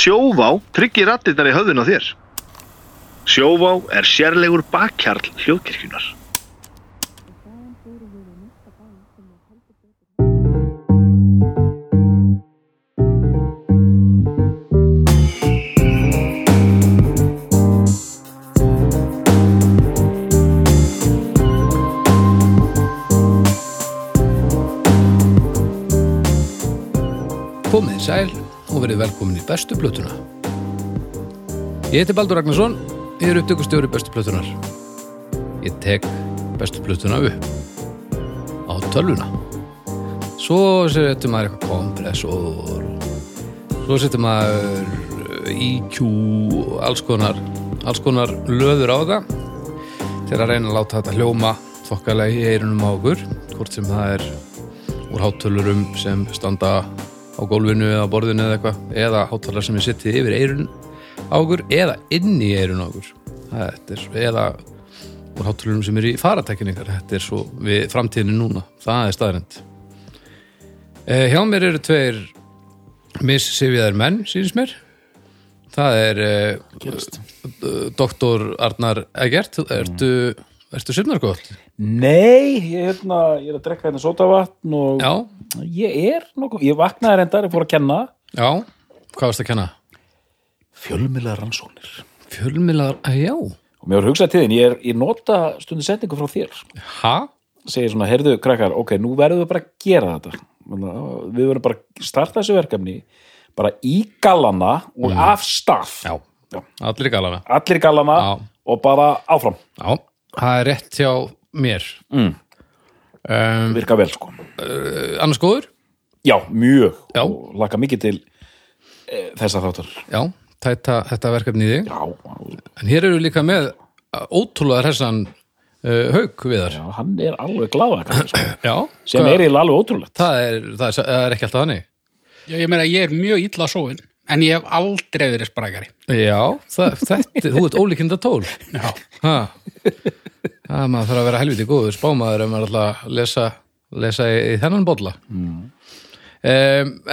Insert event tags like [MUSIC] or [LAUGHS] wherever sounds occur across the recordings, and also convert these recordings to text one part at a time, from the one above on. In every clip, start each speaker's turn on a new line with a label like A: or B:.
A: sjóvá tryggir rattirnar í höfðun á þér. Sjóvá er sérlegur bakkjarl hljóðkirkjunar.
B: Komið í sæl og verið velkomin í bestu plötuna. Ég heiti Baldur Ragnarsson, ég er upptökustjóri bestu plötunar. Ég tek bestu plötuna upp á tölvuna. Svo setjum maður eitthvað kompressor, svo setjum maður IQ, og alls konar, alls konar löður á það til að reyna að láta þetta hljóma þokkalega í eyrunum á okkur, hvort sem það er úr hátölurum sem standa á gólfinu eða á borðinu eða eitthvað eða hátalar sem er sittið yfir eyrun á okkur eða inn í eyrun á okkur Þetta er, svo- eða úr hátalurum sem er í faratekningar þetta er svo við framtíðinu núna það er staðrind Eh, Hjá mér eru tveir missifjaðar menn, sínst mér. Það er eh, doktor Arnar Egert, ertu, ertu sko? sérnargóð?
C: Nei, ég, hérna, ég er að drekka hérna sótavatn og
B: Já,
C: ég er nokkuð, ég vaknaði reyndar, ég fór að kenna
B: já, hvað varst að kenna?
C: Fjölmila rannsóknir
B: Fjölmiðlar, að já,
C: Og mér var hugsað til þín, ég, er, ég nota stundu setningu frá þér
B: ha?
C: Segir svona, heyrðu krakkar, ok, nú verðum við bara að gera þetta Þannig að Við verðum bara að starta þessu verkefni bara í gallana og af stað
B: Mm. Já,
C: Já.
B: allir í galana.
C: Allir í gallana
B: Já.
C: og bara áfram
B: Já, það er rétt hjá mér.
C: Mm.
B: Um,
C: Virka vel sko
B: annars góður?
C: Já, mjög
B: Já.
C: og laka mikið til e, þessa þáttar
B: Já, tæta þetta verkefni í þig.
C: Já,
B: En hér eru líka með uh, ótrúlega hressan uh, haug við þar.
C: já, hann er alveg glaða sko.
B: Já,
C: [CLEARS THROAT] sem
B: hvað-
C: er eiginlega alveg ótrúlegt
B: það er, það er, það er ekki alltaf þannig
D: Já, ég meina, ég er mjög illa sóin, en ég hef aldrei verið sprakari.
B: já, það, þetta, þú ert ólíkinda tól
D: Já.
B: ha. [LAUGHS] það maður þarf að vera helviti góður spámaður ef maður er alltaf að lesa, lesa í, í þennan bolla mm.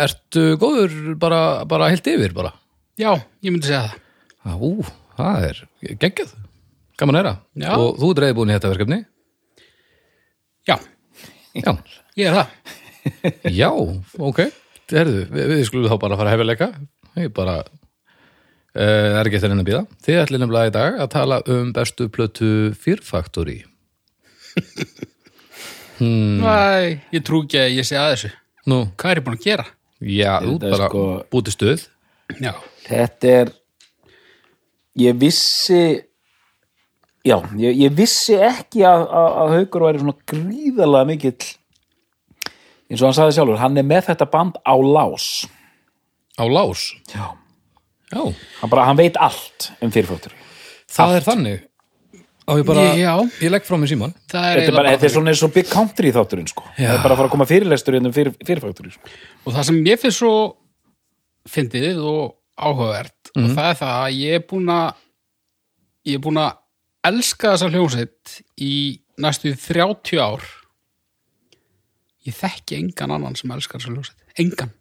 B: ertu góður bara, bara heilt yfir bara
D: [LAUGHS] Já, ég myndi segja það.
B: Á, ú, það er geggjað gaman að
D: Já.
B: heyra og þú ert reyðbúin í þetta verkefni
D: Já,
B: já,
D: ég er það.
B: já, ok Herðu, við, við skulum þá bara fara að hefileika ég bara Eh, Það er ekki eftir henni að býða. Þið ætlum nefnilega í dag að tala um bestu plötu fyrrfaktori.
C: Mm.
D: Næ, ég trú ekki að ég sé að þessu.
B: Nú,
D: Hvað er ég búin að gera?
B: já, þú
C: Þetta er
B: bara sko...
C: sko-
B: búti stuð.
D: Já,
C: þetta er ég vissi já, ég, ég vissi ekki að, að, að Haukur væri svona gríðalega mikill eins og hann sagði sjálfur, hann er með þetta band á lás
B: Á lás.
C: já.
B: Já,
C: hann bara, hann veit allt um fyrirfóttur
B: það er þannig. Á ég bara,
D: Ég- já.
B: ég legg frá mér síman.
C: þetta er,
D: það er eiginlega
C: bara,
D: bara
C: þetta er svona eins og big country þátturinn sko. það er bara að fara að koma fyrirlestur hérna um fyrir, fyrirfóttur sko.
D: Og það sem ég finnst svo fyndið og áhugavert,
C: Mhm.
D: og það er það að ég er búin að, ég er búin að elska þessa hljómsveit í næstu 30 ár. Ég þekki engan annan sem elskar þessa hljómsveit. Engan.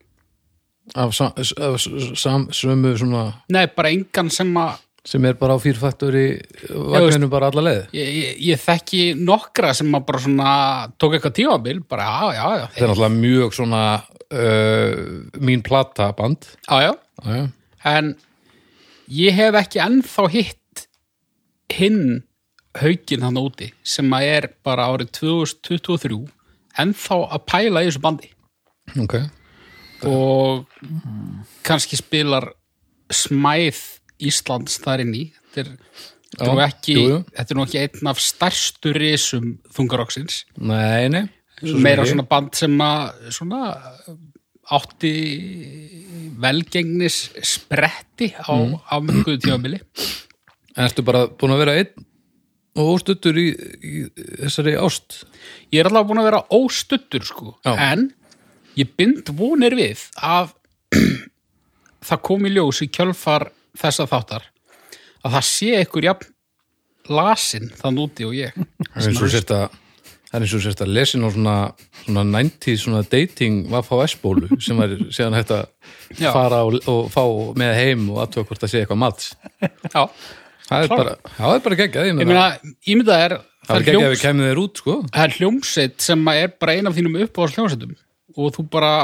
B: Af, sam, af sam, sömu svona,
D: Nei, bara engan sem að
B: sem er bara á fyrrfaktori vagninu bara alla leið.
D: Ég, ég, ég þekki nokkra sem maður bara svona tók eitthvað tímabil, bara já, já, já,
B: Þetta er náttúrulega mjög svona uh, mín plata band.
D: já, já,
B: Já, já.
D: en ég hef ekki ennþá hitt hinn haukinn hann úti sem að er bara árið 2023 ennþá að pæla í þessu bandi
B: Ok.
D: og kannski spilar smæð Íslands þar inn í þetta er, þetta er, nú
B: Já,
D: ekki,
B: jú, jú.
D: þetta er nú ekki einn af stærstu risum þungaroksins
B: Nei, nei. svo sem
D: meira
B: ég.
D: svona band sem að svona átti velgengnis spretti á mm. afmörkuðu tímabili
B: Ertu bara búin að vera einn og óstuttur í, í þessari ást?
D: ég er allavega búin að vera óstuttur sko,
B: Já.
D: en ég bind vonir við að [CLEARS THROAT] það kom í ljós í kjölfar þessa þáttar að það sé ykkur jafn lasin þann úti og ég
B: eins og sérst að það er eins og sérst að lesin á svona, svona 90 svona dating VHS bólu sem var séðan hægt að
D: Já.
B: fara og, og fá með heim og aðtöða hvort það sé eitthvað mats
D: Já,
B: það er
D: Klárt.
B: bara, já, það er bara geggjað ég
D: ég
B: meina,
D: meina, ímynda er
B: það er geggjað ef við kemum þér út sko
D: það er hljómsveit sem er bara ein af þínum uppáðs hljómsveitum og þú bara,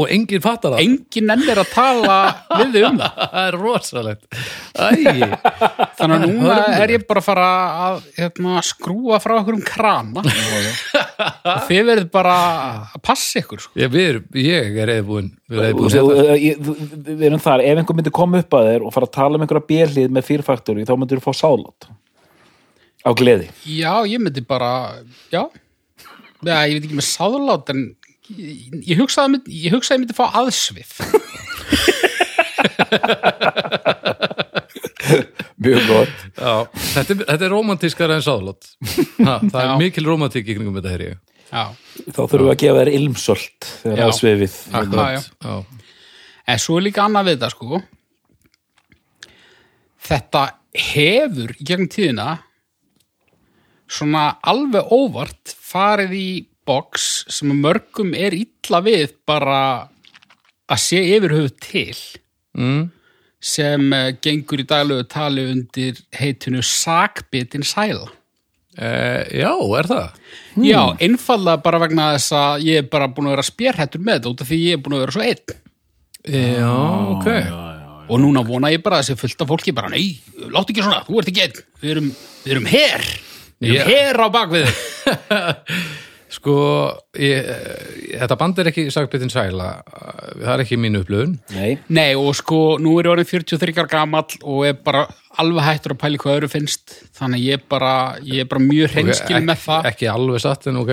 B: og enginn fattar það
D: enginn ennir að tala við þig um það
B: [LAUGHS] það er rosalegt Æi,
D: þannig að núna
B: Hörmulegt.
D: er ég bara að fara að hérna, skrúa frá okkur um krana og þið verður bara að passa ykkur sko.
B: ég, við, erum- ég er reyðbúin við erum
C: Þú-
B: reyðbúin
C: þú- ég- þú- Við erum þar, ef einhver myndi koma upp að þér og fara að tala um einhverja bérlið með fyrfaktori þá myndir þú fá sálátt á gleði
D: já, ég myndi bara já, já ég veit ekki með sáðlát en ég, ég hugsaði að myndi- ég hugsaði að ég myndi fá aðsvið
C: Mjög gott
B: Já, þetta er, þetta er romantískara en sáðlót ha, það er
D: Já.
B: mikil romantík í kringum þetta heyri ég
D: já
C: Þá þurfum við að gefa þér ilmsöld þegar
D: Já.
C: það er svefið
D: Akkurat. Já, já.
B: já.
D: En svo er líka annað við þetta sko Þetta hefur í gegnum tíðina svona alveg óvart farið í box sem að mörgum er illa við bara að sé yfir höfuð til
B: Mm.
D: sem eh, gengur í daglegu tali undir heitinu sakbitin sæla.
B: Eh, já, er það?
D: Já, einfallega bara vegna þess að ég er bara búin að vera spjærhættur með þetta út af því ég er búin að vera svo einn.
B: Já,
D: Ah.
B: ok
D: og núna vona ég bara að þessi fullt af fólki bara, nei, láttu ekki svona, þú ert ekki einn við erum, við erum her við erum
B: Já.
D: her á bakvið þig." [LAUGHS]
B: Sko, ég, eh, þetta band er ekki sagbitin sæla Eh, það er ekki mín upplöðun
C: Nei,
D: nei, og sko, nú er ég orðin 43 ára gamall og er bara alveg hættur að pæli hvað öðru finnst þannig að ég er bara, ég er bara mjög hreinskil með það,
B: Ekki alveg satt en ok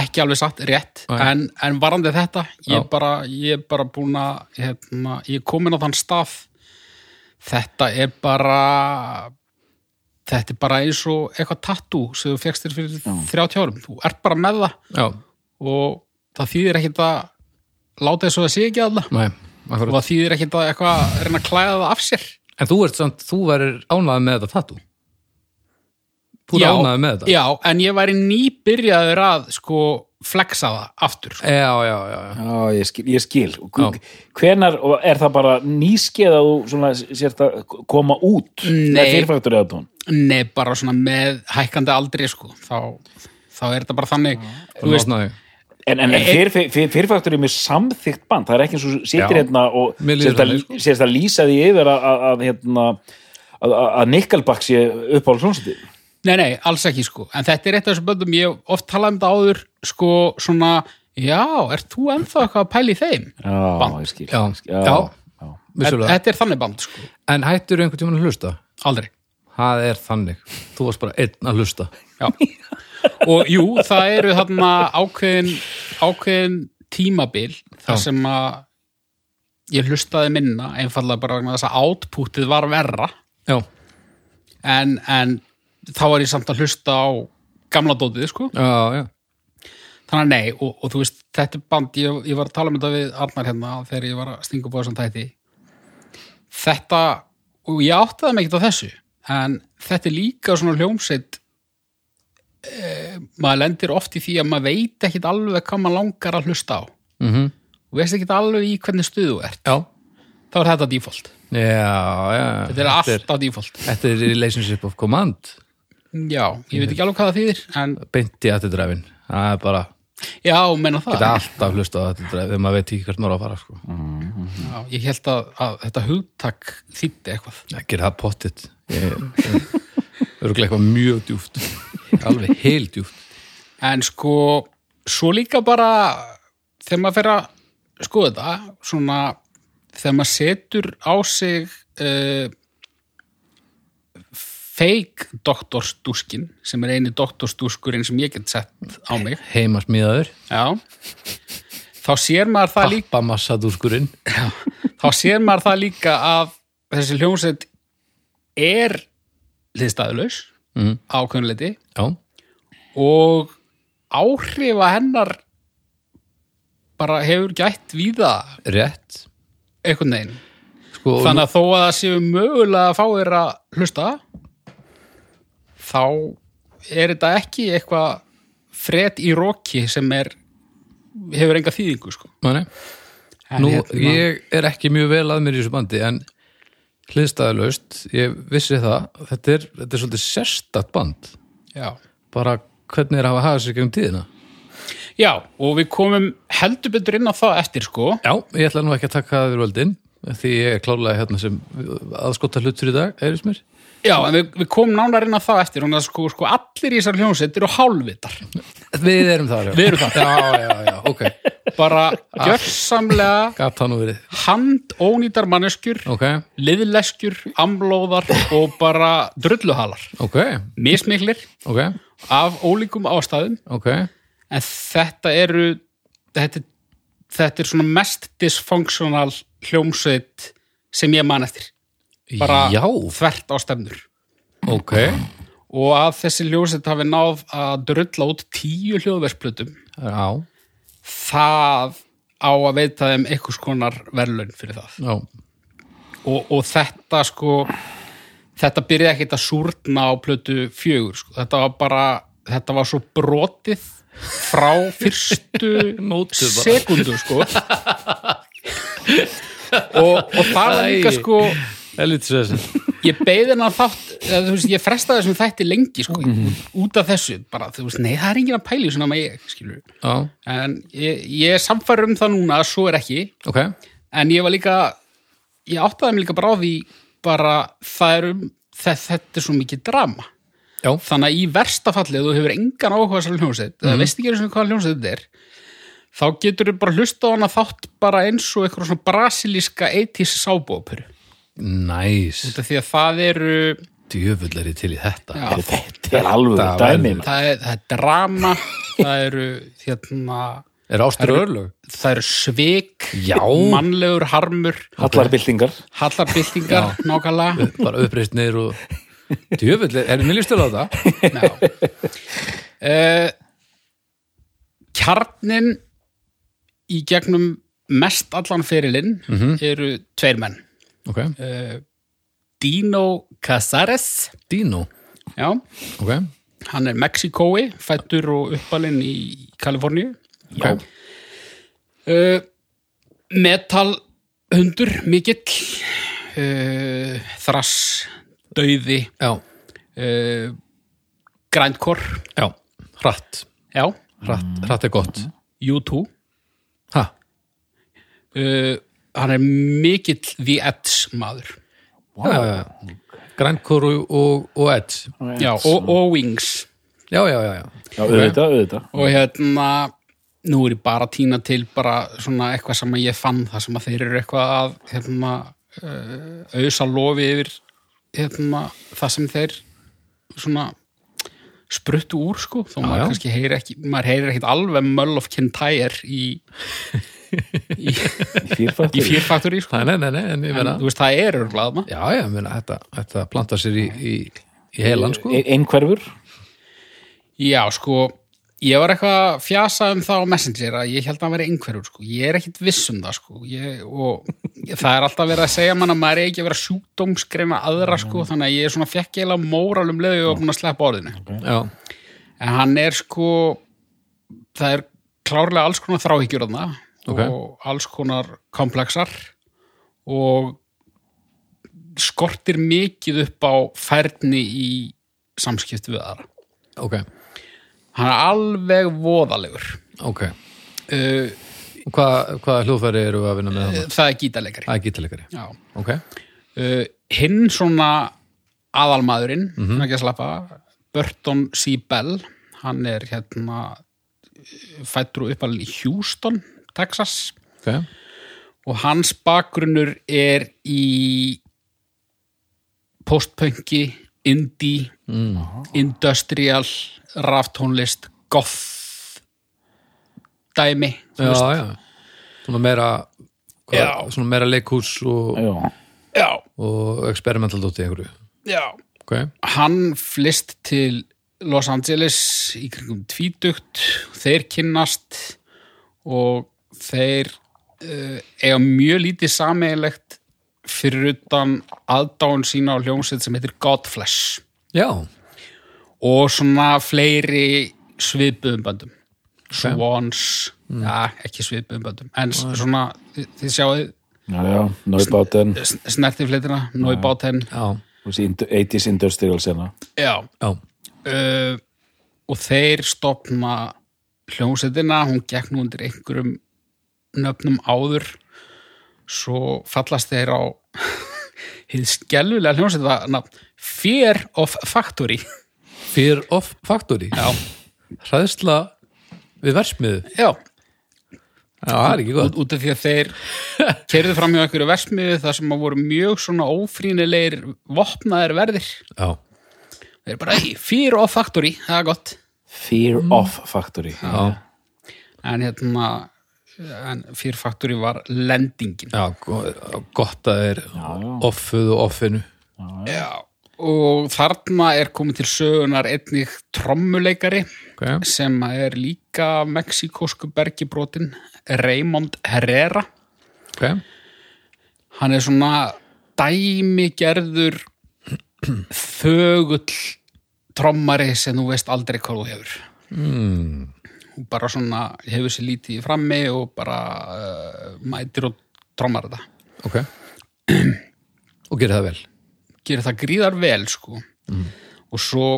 D: ekki alveg satt rétt,
B: Nei.
D: en, en varandi þetta ég
B: Já.
D: er bara, ég er bara búin að hérna, ég er komin á þann stað þetta er bara þetta er bara eins og eitthvað tattoo sem þú fegst þér fyrir 30 árum, þú ert bara með það
B: Já,
D: og það þýðir ekkit að láta þess að það sé ekki alla
B: nei
D: og
B: akkurat.
D: það þýðir ekkit að eitthvað reyna að klæða það af sér
B: En þú ert samt, þú verður ánægð með þetta tattu Þú
D: Já,
B: er ánægð með þetta
D: Já, en ég væri nýbyrjaður að sko flexa það aftur sko.
B: já, já, já, já.
C: Já, ég skil, ég skil. Og
B: Já.
C: Hvenar og er það bara nýskeið að þú svona, sért að koma út með
D: Nei.
C: fyrfaktur eða tón?
D: Nei, bara svona með hækkandi aldri sko, þá, þá er þetta bara þannig
B: Þú
D: þú veist,
B: náði.
C: En, en fyr, fyr, fyr, fyrfaktur er mjög samþykkt band, það er ekki eins og þú situr
B: Já.
C: hérna og
B: Mér líður
C: sérst að,
B: þannig, sko.
C: sérst að lýsa því yfir að, að, að hérna að, að- að Nickelback sé upp á hljónsandi
D: Nei, nei, alls ekki sko en þetta er eitt af þessum böndum, ég hef oft talað um þetta áður sko svona, já, ert þú ennþá eitthvað að pæla í þeim?
C: Já,
D: Band.
C: ég skil
B: Já,
C: Ég skil.
B: já, vissulega
D: Þetta er þannig band sko,
B: En hættur einhvern tímann að hlusta?
D: aldrei
B: Það er þannig. Þú varst bara einn að hlusta.
D: Já. og jú, það eru þarna ákveðin, ákveðin tímabil þar
B: Já.
D: sem að ég hlustaði minna einfallega bara vegna þess að outputið var verra
B: Já,
D: en, en þá var ég samt að hlusta á gamla dótið sko
B: já, já.
D: þannig að nei og, og þú veist þetta er band, ég, ég var að tala um þetta við Arnar hérna þegar ég var að stinga upp á þessum tæti þetta og ég áttaði mig ekkert á þessu en þetta er líka svona hljómsveit e, maður lendir oft í því að maður veit ekkert alveg hvað maður langar að hlusta á
B: Mm
D: og veist ekkert alveg í hvernig stuðu þú ert
B: Já,
D: þá er þetta default,
B: já, já.
D: þetta er alltaf default
B: Þetta er relationship of command,
D: já, ég veit ekki alveg hvað það þýðir en
B: beinti aðtidræfin. Það er bara,
D: já, menna það
B: þetta er alltaf hlusta á aðtidræfin þegar maður veit ekki hvert maður á að fara, sko.
D: já, ég held að, að þetta hugtak þýtti eitthvað
B: Ekki er það pottitt. Örgulega eitthvað mjög djúft. Alveg heil djúft.
D: En sko, svo líka bara þegar maður fer að skoða þetta, svona þegar maður setur á sig uh, fake doktorstúskin sem er eini doktorstúskurinn sem ég get sett á mig,
B: Heimasmiðaður,
D: já þá sér maður það líka
B: pappamassadúskurinn.
D: þá sér maður það líka að þessi hljómsveit er liðstæðulaus
B: Mhm.
D: ákveðunleiti
B: Já,
D: og áhrifa hennar bara hefur gætt víða
B: rétt.
D: einhvern veginn.
B: Sko,
D: Þannig að þó að það séu mögulega að fá þér að hlusta þá er þetta ekki eitthvað fred í roki sem er hefur enga þýðingu sko.
B: Nei, nei.
D: En
B: Nú,
D: hérna-
B: ég er ekki mjög vel að mér í þessu bandi en hliðstæðalaust, ég vissi það þetta er, þetta er svolítið sérstakt band
D: já.
B: bara hvernig er að hafa hafað sér gegn tíðina
D: já, og við komum heldur betur inn á það eftir sko
B: Já, ég ætla nú ekki að taka það við völdin því ég er klárlega hérna sem aðskota hlutur í dag, eða mér
D: já, en við, við komum nánar inn á það eftir og sko, sko, allir í þessar hljómsveit eru hálfvitar
B: Við erum það alveg.
D: Við erum það.
B: Já, já, já, ok,
D: bara gjörsamlega
B: gat það nú verið
D: handónýtar manneskjur
B: Ok,
D: liðleskjur, amlóðar og bara drulluhalar
B: ok,
D: mismiklir
B: ok,
D: af ólíkum ástæðum
B: ok
D: en þetta eru þetta, þetta er svona mest dysfunctional hljómsveit sem ég man eftir bara
B: Já,
D: þvert á stefnur
B: ok
D: og að þessi hljómsveit hafi náð að drulla út tíu hljóðversplutum
B: Já,
D: það á að veita þeim einhvers konar verðlaun fyrir það
B: já,
D: og, og þetta sko þetta byrjaði ekkert að súrna á plötu fjögur sko. þetta var bara, þetta var svo brotið frá
B: [LAUGHS]
D: fyrstu
B: Nótu bara.
D: sekundu sko og, og það var líka
B: Æ.
D: sko
B: elítið þessi
D: ég beði hennar þátt eða, þú veist, ég frestaði þessum þætti lengi sko,
B: Mhm.
D: út af þessu, bara þú veist, nei það er enginn að pæli svona með ég, skilur
B: Já,
D: en ég, ég er samfæri um það núna að svo er ekki
B: ok,
D: en ég var líka ég áttaði mig líka bara á því bara það er um þe- þetta er svo mikið drama
B: já,
D: þannig að í versta falli ef þú hefur engan áhuga þessar hljómsveit eða veist ekki einu sinni hvaða hljómsveit þetta er þá getur þú bara hlusta á hana þátt bara eins og eitthvað svona brasilíska 80s sábópur
B: næs
D: því að það eru
B: Djöfull er ég til í þetta
D: Já.
C: Þetta er alveg
B: Þetta
C: dæmi
B: verður-
C: maður.
D: það er, það er drama það eru hérna
B: Er ástur örlög?
D: það eru svik
B: Já.
D: mannlegur harmur
C: Allar byltingar
D: hallarbyltingar nákvæmlega
B: Bara uppreist niður og Djöfull er, er mér lístur á þetta?
D: uh, kjarnin í gegnum mest allan fyrirlinn eru tveir menn
B: Ok,
D: Dino Casares
B: Dino,
D: já,
B: ok
D: hann er Mexikói fættur og uppalinn í Kaliforníu
B: Já.
D: uh, metal hundur mikill uh, þrass dauði
B: Já,
D: uh, grænkor
B: já, hratt
D: já,
B: Hratt, hratt er gott
D: U2
B: Ha,
D: uh, hann er mikill The Edge maður
B: já, já, já Grænkur og, og, og Edge
D: já, og, og Wings
B: Já, já, já, já
C: Já, auðvitað, auðvitað
D: og hérna nú er ég bara að tína til bara svona eitthvað sem ég fann það sem að þeir eru eitthvað að hérna, uh, auðsa lofi yfir hérna, það sem þeir svona spruttu úr sko þó maður
B: já.
D: kannski heyri ekki maður heyri ekkit alveg Möll of Kintyre í, í,
C: Fýrfættur
D: í fyrfaktori sko.
B: Nei, nei, nei, nei, en ég
D: en
B: meina
D: þú veist það er örglað maður
B: Já, já, ég meina, þetta, þetta plantar sér í, í, í heilan, sko
C: Einhverfur
D: Já, sko, ég var eitthvað að fjasa um það á Messenger að ég held að hann veri einhverjur, sko. Ég er ekkit viss um það, sko. Ég, og [LAUGHS] það er alltaf verið að segja mann að maður er ekki að vera sjúkdómsgreina aðra, sko. Þannig að ég er svona fekk eiginlega móralum leðu og búin að sleppa orðinu.
B: Já,
D: En hann er, sko, það er klárlega alls konar þráhyggjur þarna
B: Ok.
D: og alls konar komplexar og skortir mikið upp á færni í samskipti við aðra
B: ok,
D: hann er alveg voðalegur
B: ok
D: uh,
B: Hva, Hvaða hljóðfæri eru við að vinna með hann?
D: það er gítarleikari
B: Það er gítalegari
D: Já.
B: Ok,
D: uh, hinn svona aðalmaðurinn mm -hmm. ekki að slappa Burton C. Bell hann er hérna fættur og uppalinn í Houston Texas
B: ok,
D: og hans bakgrunnur er í postpunki indie industrial raftónlist goth dæmi þú
B: já,
D: veist,
B: já Svona meira hvað,
D: Já.
B: Svona meira leikhús og,
C: Já,
D: já,
B: og experimental dóti einhverju
D: já
B: Ok,
D: hann flist til Los Angeles í kringum tvítugt, þeir kynnast og þeir uh, eiga mjög lítið sameigilegt fyrir utan aðdáun sína á hljómsveit sem heitir Godflesh
B: já,
D: og svona fleiri svipuðum böndum Swans, ja, ekki svipuðum böndum en s- svona, þið, þið sjáu
C: Já, já, Neubáten,
D: snerti flitina, nói bátinn
B: já,
C: þessi ind- 80s industrial sena.
D: já,
B: já,
D: uh, og þeir stopna hljómsveitina, hún gekk nú undir einhverjum nöfnum áður svo fallast þeir á [LAUGHS] hið skelvilega hljómsveita nafn Fear of Factory [LAUGHS]
B: Fear of Factory
D: já,
B: hræðsla við versmiðu já,
D: já
B: það er ekki
D: út,
B: gott
D: út af því að þeir [LAUGHS] kerðu fram hjá einhverju versmiðu þar sem að voru mjög svona ófrínilegir vopnaðir verðir
B: já,
D: þeir bara, "Æ, Fear of Factory, það er gott
C: Fear of Factory.
B: já,
D: en hérna en Fear Factory var lendingin
B: já go- gott að er offuð og offinu
D: Já, og þarna er komið til sögunar einnig trommuleikari
B: okay.
D: sem er líka mexikósku bergibrotin Raymond Herrera.
B: Okay.
D: Hann er svona dæmigerður þögull trommari sem þú veist aldrei hvað þú hefur. Mm. Og bara svona hefur sér lítið í frammi og bara uh, mætir og trommar þetta.
B: ok og gera það vel
D: gerir það gríðar vel sko og svo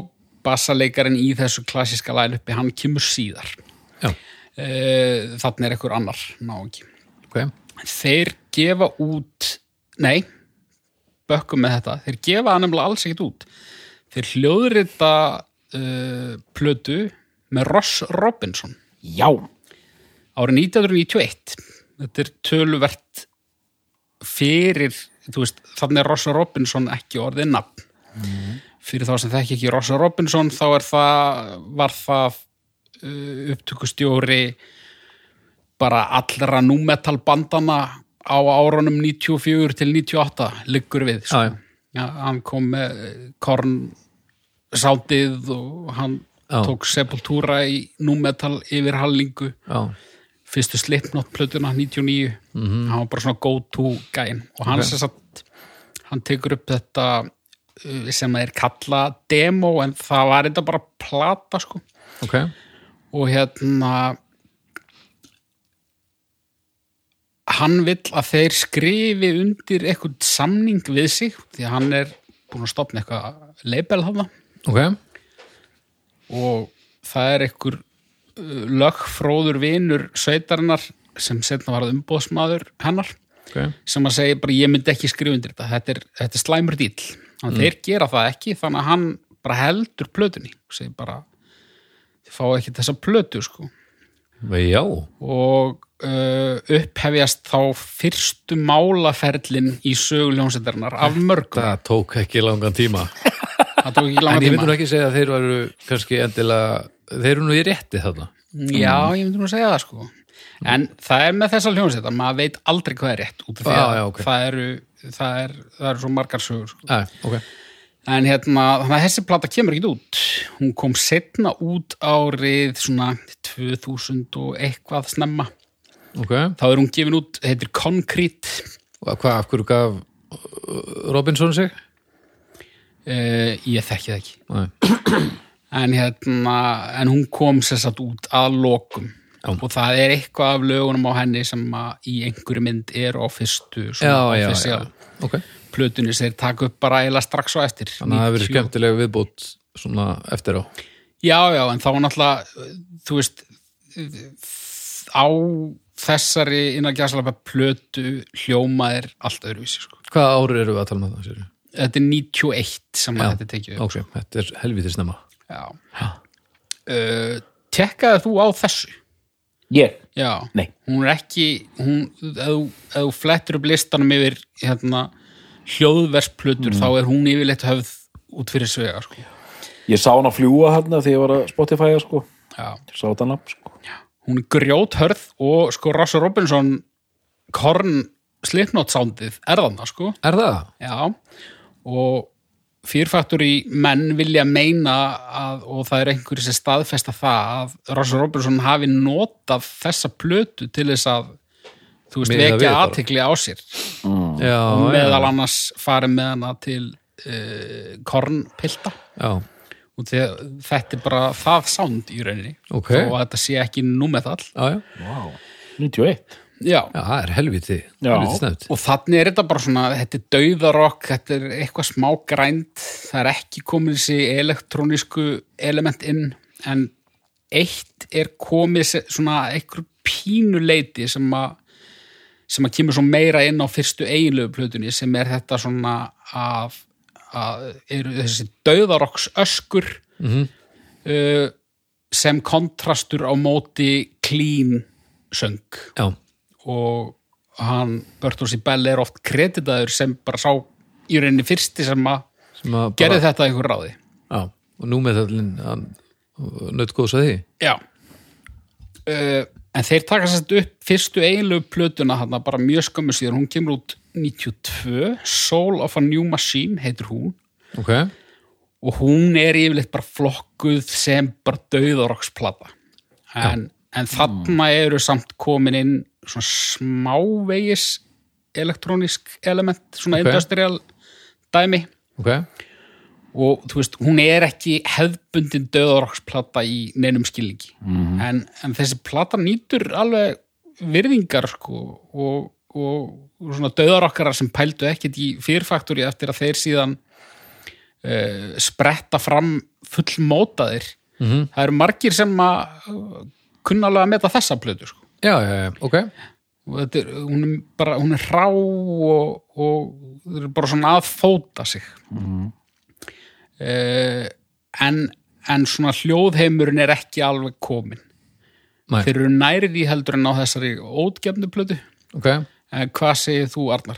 D: bassaleikarin í þessu klassíska læluppi hann kemur síðar
B: já,
D: e, þannig er ekkur annar náungi
B: ok,
D: þeir gefa út nei, bökkum með þetta þeir gefa það nefnilega alls ekkert út þeir hljóðrita uh, plötu með Ross Robinson
C: Já,
D: árið 1991 þetta er töluvert fyrir, þú veist þannig er Rossa Robinson ekki orðið nafn fyrir þá sem þekki ekki Rossa Robinson þá er það var það uh, upptökustjóri bara allra númetal bandana á árunum 94 til 98 liggur við sko.
B: Já, já.
D: Já, hann kom með korn sándið og hann
B: Já.
D: tók sepultúra í númetal yfir hallingu
B: já,
D: fyrstu Slipknot plötuna 99 hann var bara svona go to gæn og hann sem sagt hann tekur upp þetta uh, sem er kalla demo en það var þetta bara plata sko
B: ok
D: og hérna hann vill að þeir skrifi undir eitthvað samning við sig því að hann er búin að stopna eitthvað label hafa
B: ok,
D: og það er einhver uh, lögfróður vinur sveitarinnar sem setna varð umbóðsmaður hennar
B: ok
D: sem að segja bara ég myndi ekki skrifa undir þetta þetta er, þetta er slæmur dýl þannig
B: Mm.
D: að þeir gera það ekki þannig að hann bara heldur plötunni og segir bara þið fá ekki þessa plötu sko
B: já,
D: og uh, upphefjast þá fyrstu málaferlin í söguljónsendarinnar af mörgum
B: það tók ekki langan tíma
D: það tók ekki
B: en
D: langa
B: ég myndi nú
D: tíma
B: ekki segja að þeir eru kannski endilega, þeir eru nú í rétti þarna
D: já, ég myndi nú að segja það sko en það er með þessa hljónseta maður veit aldrei hvað er rétt út af því
B: Já,
D: að
B: já, ok.
D: það, eru, það, er, það eru svo margar sögur sko.
B: Æ, ok,
D: en hérna, þannig að þessi plata kemur ekki út hún kom setna út árið svona 2000 og eitthvað snemma
B: ok
D: þá er hún gefin út, heitir Concrete
B: og hvað, af hverju gaf uh, Robinson sig?
D: uh, ég þekki það ekki
B: Nei.
D: en, hérna, en hún kom sér satt út að lokum
B: Já.
D: og það er eitthvað af lögunum á henni sem að í einhverju mynd er á fyrstu
B: já, já, já,
D: official
B: ok
D: plötunni sem þeir taka upp bara eila strax á eftir
B: þannig að það hefur verið
D: 90.
B: skemmtilega viðbútt svona eftir á
D: Já, já, en þá náttúrulega þú veist á þessari innan gæslega plötu hljómaðir allt öðruvísi sko.
B: hvaða ári eru við að tala með það? sérðu?
D: Þetta er 91 sem að
B: Já,
D: þetta er tekið upp.
B: ok, þetta er helvítið snemma
D: Já. Uh, tekkaði þú á þessu?
C: ég,
D: Já,
C: Nei.
D: hún er ekki hún, ef, þú- ef þú flettur upp listanum yfir hérna,
B: Mm.
D: hljóðversplötur þá er hún yfirleitt höfð út fyrir svega sko.
C: ég sá hann að fljúa hérna þegar ég var að Spotify-a, sko.
D: Já.
C: Ég Sá þetta nafn, sko.
D: hún er grjóthörð og sko Ross Robinson korn slipnót sándið er þarna sko
B: er það?
D: já og fyrfættur í menn vilja meina að, og það er einhverjir sem staðfesta það að Ross Robinson hafi notað þessa plötu til þess að þú veist,
B: Miða við
D: vekja
B: bara.
D: aðtekli á sér
B: já,
D: meðal
B: já,
D: annars farið með hana til uh, eh, kornpilta
B: já,
D: og þegar, þetta er bara það sound í rauninni
B: Ok.
D: þó að þetta sé ekki númetall
B: já, já.
C: 91
D: já,
B: Já, það er helviti,
C: Já.
B: helviti snögt.
D: og þannig er þetta bara svona þetta er dauðarokk, þetta er eitthvað smá grænt það er ekki komin þessi elektrónísku element inn en eitt er komið se- svona einhver pínuleiti sem að sem að kemur svo meira inn á fyrstu eiginlegu plötunni sem er þetta svona að, að eru þessi dauðarokks öskur uh, sem kontrastur á móti clean söng
B: Já,
D: og hann Bertolsi Bell er oft kreditaður sem bara sá í rauninni fyrsti sem að
B: sem að
D: gerði þetta einhver ráði
B: Já, og nú með þallinn, hann nödd góðs að því.
D: já uh, en þeir taka sett upp fyrstu eiginlegu plötuna hann bara mjög skömmu síðan hún kemur út 92 Soul of a New Machine heitir hún
B: Ok,
D: og hún er yfirleitt bara flokkuð sem bara dauðarokksplata en, en þarna eru samt komin inn svona smávegis elektrónisk element, svona
B: Ok.
D: industrial dæmi
B: ok,
D: og þú veist, hún er ekki hefðbundin dauðarokksplata í neinum skilningi en, en þessi plata nýtur alveg virðingar sko og, og, og svona dauðarokkarar sem pældu ekkit í fyrfaktori eftir að þeir síðan uh, spretta fram fullmótaðir -hmm. það eru margir sem að uh, kunna alveg að meta þessa plötu sko
B: já, já, já, ok,
D: og þetta er, hún er bara, hún er rá og, og það er bara svona að fóta sig mm en, en svona hljóðheimurinn er ekki alveg komin
B: Nei.
D: þeir eru nærið í heldur en á þessari ótgefnu plötu
B: ok,
D: en hvað segir þú Arnar?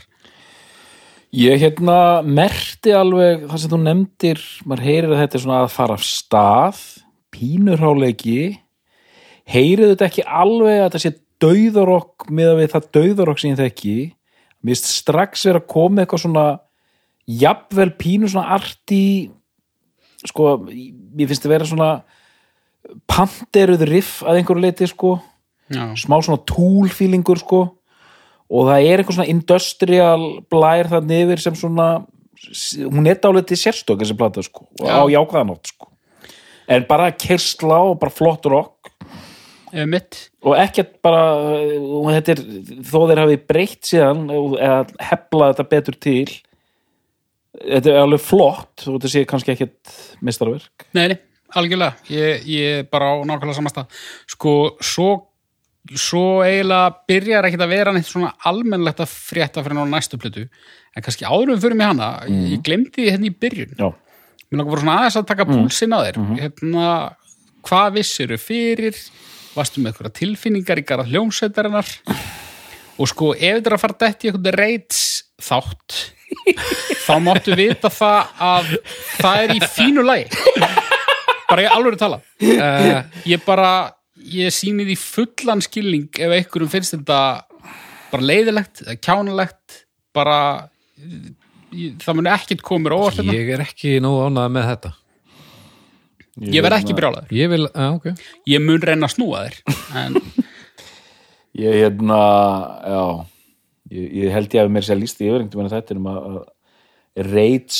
C: Ég hérna merti alveg það sem þú nefndir, maður heyrir að þetta er svona að fara af stað, pínurháleiki, heyrið þetta ekki alveg að þetta sé dauðarokk með að við það dauðarokk sem ég þekki, mér finnst strax vera að koma eitthvað svona jafnvel pínu svona arti, sko, mér finnst þetta vera svona panteruð riff að einhverju leiti, sko
D: Já,
C: smá svona túlfílingur sko og það er eitthvað svona industrial blær þannig yfir sem svona hún er dálítið sérstök þessi plata sko og
D: Já.
C: á jákvæðanátt sko en bara kersla og bara flott rock
D: ef Eh, mitt
C: og ekkert bara og þetta er, þó þeir hafi breytt síðan eða hefla þetta betur til þetta er alveg flott og þetta sé kannski ekkert mistarverk
D: Nei, nei, algjörlega ég, ég er bara á nákvæmlega samasta sko, svo svo eiginlega byrjar ekkert að vera neitt svona almennlegt að frétta fyrir náðu næstu plötu en kannski áður en við fyrir mig hana ég glemdi því hérna í byrjun
C: já,
D: mér langar bara svona aðeins að taka púlsinn á þér hérna, hvað vissiru fyrir varstu með einhverja tilfinningar í garð hljómsveitarinnar og sko, ef þetta er að fara dætt í einhvern reits þátt þá máttu vita það að það er í fínu lagi bara ég alveg tala
B: uh,
D: Eh, ég bara, ég sýni því fullan skilning ef einhverjum finnst þetta bara leiðilegt, eða kjánalegt bara ég, það mun ekkert komur óvart hérna.
B: ég er ekki nóg ánað með þetta.
D: Ég verð ekki brjálaður.
B: Ég vil, já, ok,
D: Ég mun reyna að snúa þér. [LAUGHS] En,
C: Ég hérna, já, ég, ég held ég að mér sér lísti yfir einhvern veginn þetta um að, að reits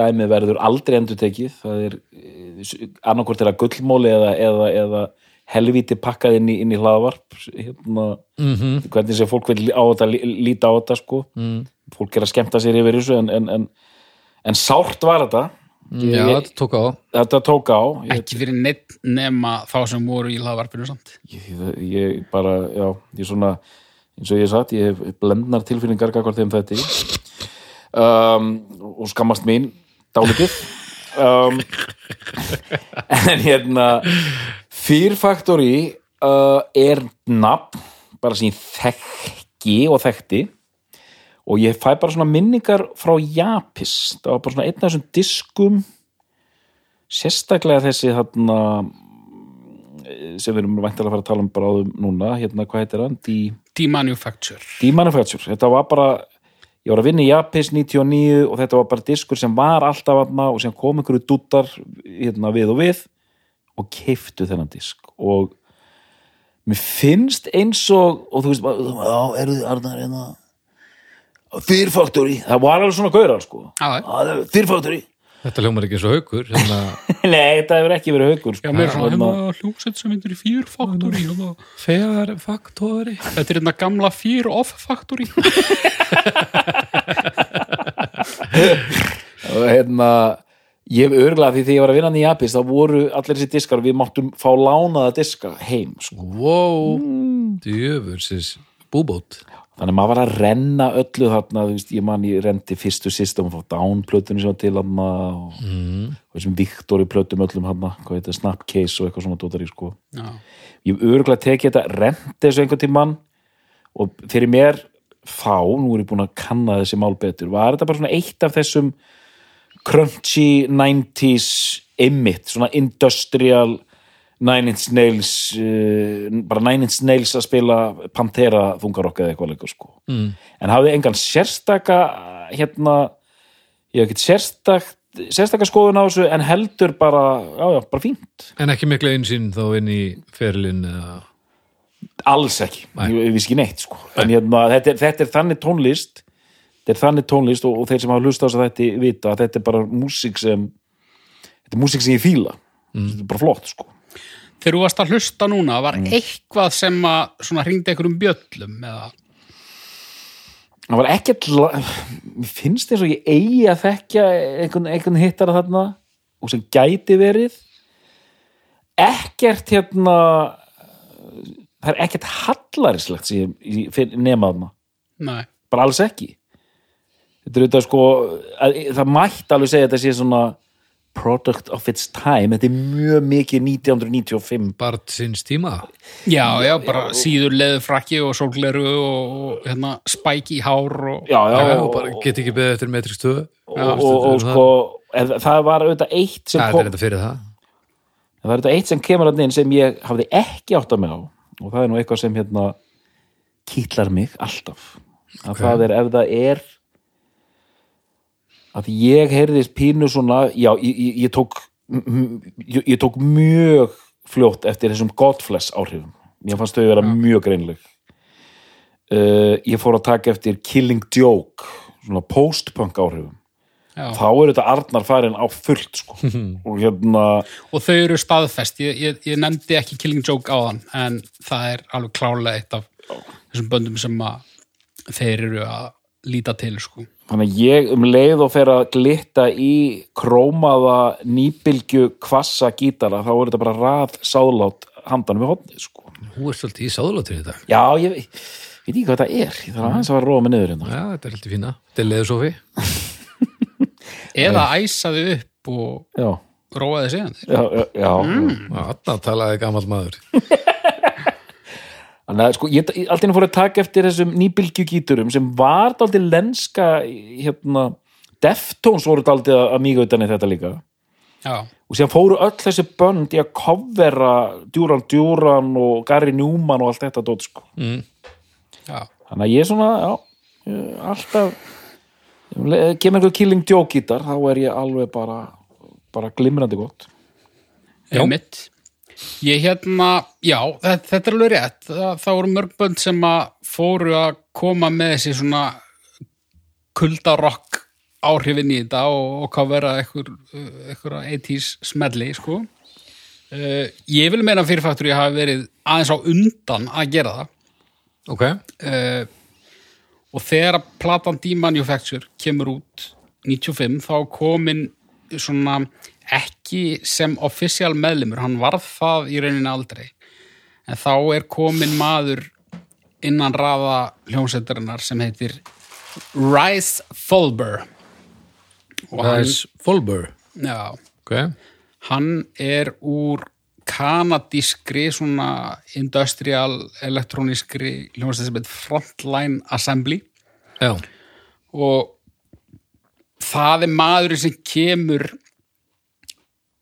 C: dæmið verður aldrei endur tekið, það er eh, annarkvort er að gullmóli eða, eða, eða helvíti pakkað inn í, inn í hlaðvarp, hérna,
B: mhm,
C: hvernig sem fólk vil á þetta, lí- líta á þetta sko,
B: mm
C: fólk er að skemmta sér yfir þessu en, en, en, en sárt var þetta,
B: já,
C: Ég-
B: þetta tók á,
C: þetta tók á, ég,
D: ekki fyrir neitt nema þá sem voru í laðvarpinu samt.
C: ég, ég bara, já, ég svona eins og ég satt, ég hef blendnar tilfinningar gagvart þeim þetta um, og skammast mín dálítið um, en hérna Fear Factory uh, er nafn bara sem ég þekki og þekkti og ég fæ bara svona minningar frá Japis, það var bara svona einn af þessum diskum sérstaklega þessi þarna sem við erum væntalega að fara að tala um bráðum núna, hérna, hvað heitir hann? D,
D: D-Manufacture.
C: D Manufacture, þetta var bara ég var að vinna í Japis 99 og þetta var bara diskur sem var alltaf aðna og sem kom einhverju dúttar hérna, við og við og keiftu þennan disk og mér finnst eins og og þú veist, bara, já, eru þið Arnar hérna Fear Factory, það var alveg svona gaurar sko
D: Já, já.
C: Já, það er Fear Factory
B: Þetta hljómar ekki eins og haukur hérna. þannig að
C: [LAUGHS] Nei, þetta hefur ekki verið haukur
D: Já, mér er svona
C: Hérna,
D: hérna hljómsveit sem myndir í Fear Factory hérna.
B: fegar faktori
D: Þetta er hérna gamla Fear of Factory
C: og hérna ég hef örglað því þegar ég var að vinna hann í Apis þá voru allir þessi diskar og við máttum fá lánaða diska heim sko.
B: Wow, djöfursins búbót
C: þannig að maður var að renna öllu þarna þú veist, ég man ég rendi fyrstu system og fá downplötunni sem var til hann og mm. þessum Viktori plötum öllum hann hvað heitir, Snapcase og eitthvað svona dótar í sko
D: Já,
C: ég hef örgulega tekið þetta rendi þessu einhvern tímann og fyrir mér þá, nú er ég búin að kanna þessi mál betur, var þetta bara svona eitt af þessum crunchy 90s emmitt, svona industrial Nine Inch Nails uh, bara Nine Inch Nails að spila Pantera þungarokka eða eitthvað leikur sko mm. en hafði engan sérstaka hérna ég hef ekkert sérstakt sérstaka skoðun á þessu en heldur bara, já já, bara fínt
B: En ekki mikla einsinn þá inn í ferlin eða
C: alls ekki, ég, ég vissi ekki neitt sko. en hérna, þetta, er, þetta er þannig tónlist þetta er þannig tónlist og, og þeir sem hafa hlust á þess að þetta vita að þetta er bara músík sem þetta er músík sem ég fíla þetta er bara flott sko
D: þegar þú varst að hlusta núna var eitthvað sem að svona hringdi einhverjum bjöllum eða,
C: það var ekkert la- mér finnst eins og ég eigi að þekkja einhvern, einhvern hittara þarna og sem gæti verið ekkert hérna það er ekkert hallarislegt sem ég, ég finn- nema þarna
D: nei,
C: bara alls ekki þetta er auðvitað sko að, það mætti alveg segja að þetta sé svona product of its time þetta er mjög mikið 1995
B: Bart sinns tíma
D: já, já, bara síður leðu frakki og sólgleru og, og hérna spæk í hár og
C: já, já,
B: Já,
C: og,
B: bara get ekki beðið eftir metri stöðu
C: og, og, og, sko en það var auðvitað eitt sem
B: Það
C: kom,
B: er þetta fyrir það
C: það var auðvitað eitt sem kemur hann inn sem ég hafði ekki átt að mig á og það er nú eitthvað sem hérna kýtlar mig alltaf að það er ef það er að ég heyrðist pínu svona já, ég, ég, ég tók m- m- ég, ég tók mjög fljótt eftir þessum Godfless áhrifum mér fannst þau vera mjög greinleg uh, ég fór að taka eftir Killing Joke svona post-punk áhrifum
D: Já.
C: þá eru þetta Arnar farin á fullt sko. og hérna
D: og þau eru staðfest ég, ég, ég nefndi ekki Killing Joke áðan en það er alveg klálega eitt af þessum böndum sem að þeir eru að líta til sko.
C: Þannig að ég um leið og fer að glitta í krómaða nýbylgju kvassa gítara þá er þetta bara rað sáðlát handan við hodnið sko.
B: Hú er svolítið í sáðlóttir í dag
C: Já, ég veit veit ekki hvað þetta er, ég þarf aðeins að fara að róa mig niður hérna.
B: Já, þetta er heldur fína Þetta er leðusofi
D: eða æsaðu upp og
C: Já,
D: róaði síðan þeir
C: já, já, já.
B: Þarna talaði gamall maður
C: Þannig að sko, ég alltaf fór að taka eftir þessum nýbylgju gíturum sem var daldið lenska hérna, Deftones voru daldið að mýga utan í þetta líka.
D: já,
C: og síðan fóru öll þessi bönd í að covera Duran Duran og Gary Newman og allt þetta dót sko.
D: já,
C: þannig að ég er svona já, ég er alltaf um leið- kemur einhver killing joke gítar þá er ég alveg bara bara glimrandi gott
B: Já.
D: Einmitt. Ég hérna, já, þetta, þetta er alveg rétt. Það, það voru mörg bönd sem að fóru að koma með þessi svona kuldarokk áhrifin í þetta og, og hvað vera ekkur, ekkur 80s smelli, sko. Uh, ég vil meina fyrirfættur ég hafi verið aðeins á undan að gera það
B: Ok,
D: uh, og þegar að platan D-Manufacture kemur út 95 þá komin svona ekki sem official meðlimur, hann varð það í rauninni aldrei en þá er komin maður innan raða hljómsveitarinnar sem heitir Rice Fulber og
B: það er Folber
D: hann, já,
B: Ok,
D: Hann er úr kanadískri, svona industrial, elektrónískri hljómsveit sem heit Frontline Assembly
B: já,
D: og það er maðurinn sem kemur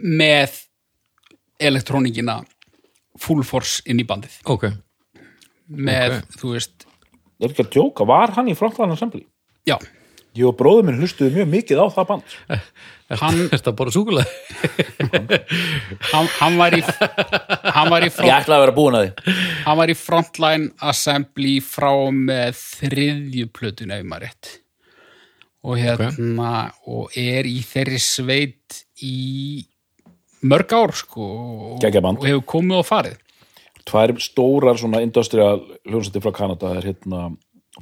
D: með elektrónikina full force inn í bandið
B: ok
D: með, þú veist,
C: ég er ekki að djóka, var hann í frontline assembly?
D: já
C: Ég og bróður minn hlustuðu mjög mikið á það band
D: hann,
B: [LAUGHS] Þetta bara súkulega
D: hann, hann var í hann var í front,
C: ætla að vera búin að því
D: hann var í Frontline Assembly frá og með þriðju plötun ef maður rétt og hérna og er í þeirri sveit í mörg ár sko og,
C: Geggjað band.
D: og hefur komið og farið
C: tvær stórar svona industrial hljónsætti frá Kanada er hérna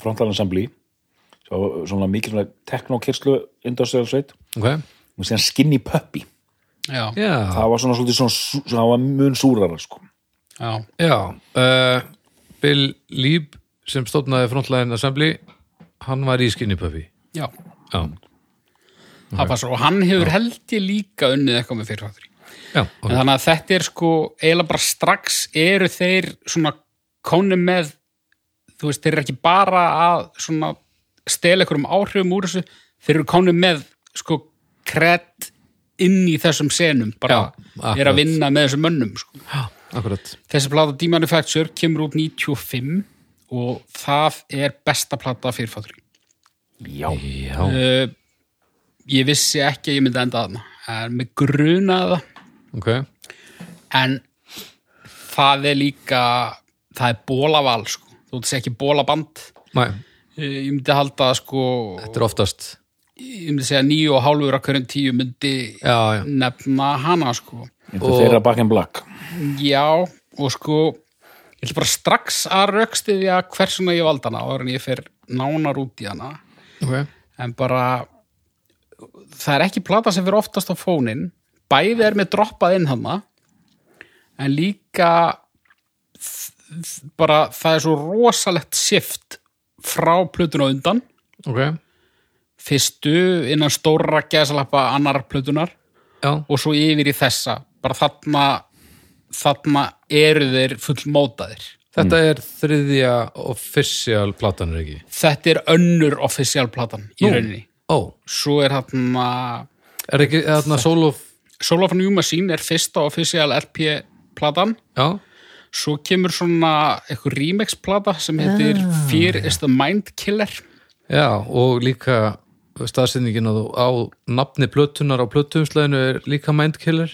C: Frontline Assembly svo, svona mikil svona teknokirslu industrial sveit
B: ok,
C: og síðan Skinny Puppy
D: já,
B: já
C: það var svona svolítið svona, sú- svona það var mun súrara sko
D: já,
B: já, uh, Bill Lieb sem stofnaði Frontline Assembly hann var í Skinny Puffy
D: já
B: já,
D: það passar og hann hefur held ég líka unnið eitthvað með fyrirháttur
B: já,
D: En
B: okay.
D: þannig að þetta er sko eiginlega bara strax eru þeir svona kónum með þú veist, þeir eru ekki bara að svona stela einhverjum áhrifum úr þessu þeir eru kónum með sko kredd inn í þessum senum bara
B: Já,
D: er
B: akkurat.
D: að vinna með þessum mönnum sko.
B: akkurat
D: þessi plata D-Manufacture kemur út 95 og það er besta plata fyrirfátur
C: já,
B: já,
D: uh, ég vissi ekki að ég myndi enda þarna en mig grunaði það
B: ok,
D: en það er líka það er bólaval sko. þú veist ekki bólaband
B: næ,
D: Eh, ég myndi halda að, sko
B: þetta er oftast
D: ég myndi segja níu og hálfur að hverjum tíu myndi
B: já, já,
D: nefna hana sko
C: þetta er þeirra Back in Black
D: já og sko ég ætla bara strax að raukstiðja hversuna ég valda hana áður en ég fer nánar út í hana
B: ok
D: en bara það er ekki plata sem fyrir oftast á fónin bæði er með droppað inn hana en líka þ- þ- bara það er svo rosalegt shift frá plötun á undan
B: ok,
D: fyrstu innan stóra gæðsalappa annar plötunar
B: já,
D: og svo yfir í þessa bara þarna þarna eru þeir fullmótaðir
B: þetta er þriðja official platan er ekki
D: þetta er önnur offisjál platan í
B: Nú.
D: rauninni
B: ó,
D: svo er þarna
B: er ekki þarna solo
D: Solo for New Machine er fyrsta official LP platan
B: já,
D: svo kemur svona eitthvað remix plata sem heitir Fear is the Mind Killer
B: já, og líka staðsendingin á, á nafni plötunar á plötumslæðinu er líka
D: [LAUGHS]
B: mindkiller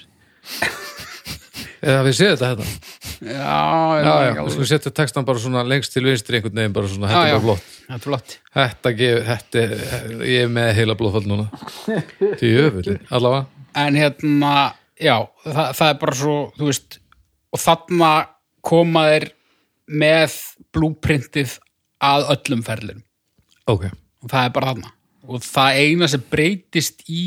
B: eða við séum þetta hérna
D: já,
B: já, Ah, já, við skulum setja textan bara svona lengst til vinstri einhvern veginn, bara svona, þetta er
D: já, já.
B: bara flott
D: þetta er flott
B: þetta gef, þetta er, ég er með heila blóðfall núna því öfur, allavega
D: en hérna, já, það, það er bara svo þú veist, og þarna koma þeir með blúprintið að öllum ferlinum
B: ok,
D: og það er bara þarna og það eina sem breytist í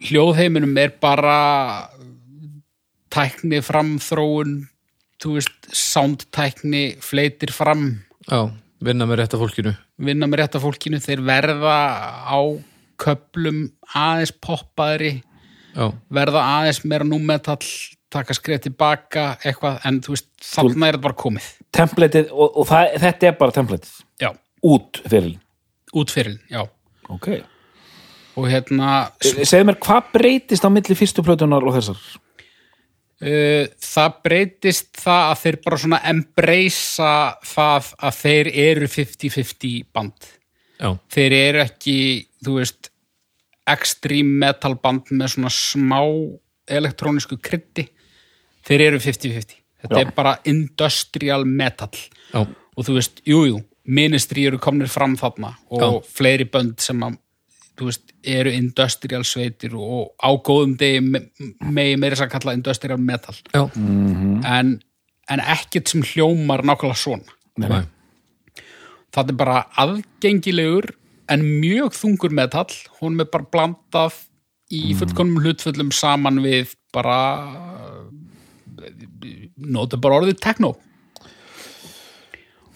D: hljóðheiminum er bara tækni fram þróun þú veist, soundtækni fleitir fram,
B: já, vinna með rétta fólkinu
D: vinna með rétta fólkinu þeir verða á köplum aðeins poppaðri
B: já,
D: verða aðeins meira númetall taka skrið tilbaka, eitthvað en þú veist, þarna er þetta bara komið
C: templateið og, og það, þetta er bara templateið
D: já,
C: út fyrir
D: útfyrir, já
C: ok
D: og hérna,
C: segðu mér hvað breytist á milli fyrstu plötunar og þessar
D: Uh, það breytist það að þeir bara svona embracea það að þeir eru 50-50 band.
B: já,
D: Þeir eru ekki, þú veist, extreme metal band með svona smá elektrónisku krytti. Þeir eru 50-50. Þetta
C: Já.
D: er bara industrial metal.
B: já,
D: Og þú veist, jú, jú, ministry eru komnir fram þarna og fleiri bönd sem að, þú veist, eru industrial sveitir og á góðum degi me- megi meira þess að kalla industrial metal
B: já,
D: Mm. en, en ekkert sem hljómar nákvæmlega svona.
B: Nei.
D: Það er bara aðgengilegur en mjög þungur metall, hún er bara blandað
B: Mm.
D: í fullkonum hlutfullum saman við bara nota bara orðið tekno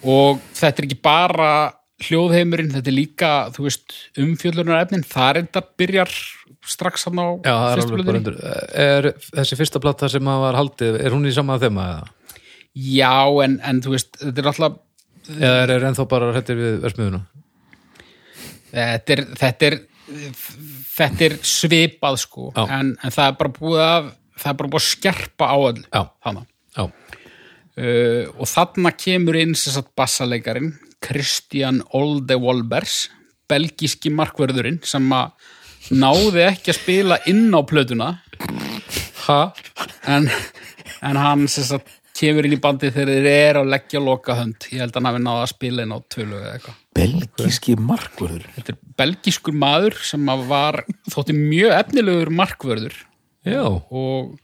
D: og þetta er ekki bara hljóðheimurinn, þetta er líka þú veist, umfjöllunarefnin það er þetta byrjar strax hann á
B: Já, það er
D: fyrstu
B: alveg bara
D: plötunni.
B: undur. Er þessi fyrsta plata sem að var haldið, er hún í sama þeim eða?
D: Já, en, en þú veist, þetta er alltaf
B: Eða er, er ennþá bara hrettir við versmiðuna?
D: þetta er, þetta er, þetta er svipað sko
B: Já.
D: en, en það er bara búið að það er bara búið að skerpa á öll
B: Já.
D: þarna.
B: Já,
D: Uh, og þarna kemur inn sem sagt bassaleikarin Christian Olde Wolbers belgíski markverðurinn sem að náði ekki að spila inn á plötuna
B: ha?
D: en, en hann sem sagt kemur inn í bandið þegar þeir eru að leggja loka hönd ég held að hann hafi náða að spila inn á tvölu eða eitthvað
C: belgíski markvörður
D: þetta er belgískur maður sem að var þótti mjög efnilegur markvörður
B: Já,
D: og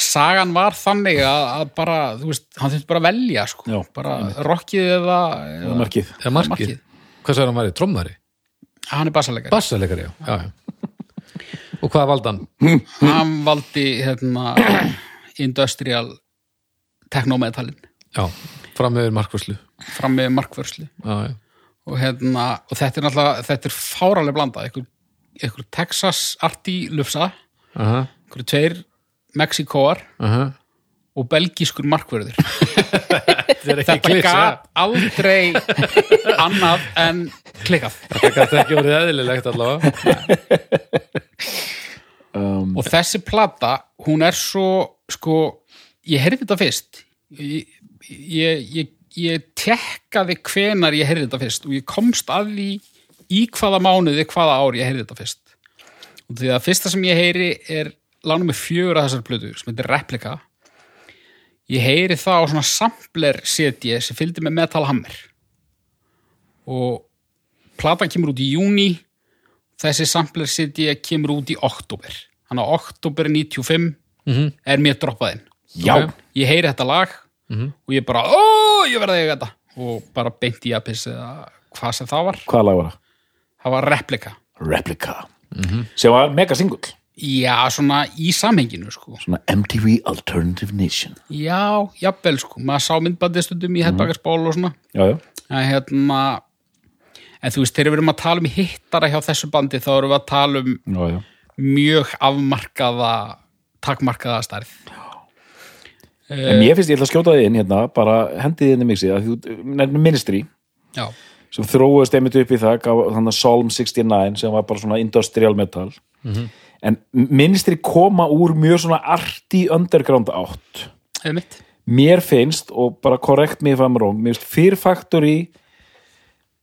D: sagan var þannig að, að bara, þú veist, hann þurfti bara að velja sko,
C: Já,
D: bara rockið eða,
C: það
D: eða
C: er markið
B: eða markið.
D: Markið.
B: Hvað sagði hann væri? Trommari?
D: hann er basalegari
B: Bassaleikari, já. já, já. Og hvað valdi hann?
D: hann valdi hérna, industrial teknometalin
B: Já, fram meður markvörslu.
D: fram með markvörslu
B: Já, já.
D: og, hérna, og þetta er náttúrulega þetta er fáraleg blanda einhver, einhver Texas arti lufsa
B: Aha,
D: einhver tveir Mexikóar
B: aha.
D: og belgískur markvörður
B: Þetta er ekki
D: þetta gat aldrei annað en klikkað
B: Þetta gat ekki orðið eðlilegt allavega.
D: og þessi plata, hún er svo sko, ég heyrði þetta fyrst ég, ég, ég, ég tekkaði hvenar ég heyrði þetta fyrst og ég komst að því í hvaða mánuði, hvaða ár ég heyrði þetta fyrst og því að fyrsta sem ég heyri er lánum með fjögur af þessar plötu sem heitir Replika ég heyri það á svona sampler CD sem fylgdi með Metal Hammer og platan kemur út í júni þessi sampler CD kemur út í oktober þannig að oktober 95 er mér droppaðinn
C: já,
D: ég heyri þetta lag og ég bara, ó, ég verði ekki þetta og bara beint í apis eða hvað sem það var,
C: hvað lag var það?
D: það var replika
C: Replica sem var mega singull
D: já, svona í samhenginu sko.
C: svona MTV Alternative Nation
D: já, jafnvel, sko, maður sá myndbandið stundum í headbakkarsból og svona
C: já, já,
D: að hérna en þú veist, þegar við erum að tala um hittara hjá þessu bandi, þá erum við að tala um
C: já, já.
D: mjög afmarkaða takmarkaða starf
C: en mér finnst ég ætla að skjóta þið inn hérna bara hendið þið inn í mixið að þú nefnir ministry
D: já,
C: sem þróuðist einmitt upp í það gaf þannig að Psalm 69 sem var bara svona industrial metal
B: Mhm.
C: en ministri koma úr mjög svona arti underground átt
D: eða mitt
C: mér finnst og bara korrekt mér fann róm, mér finnst Fear Factory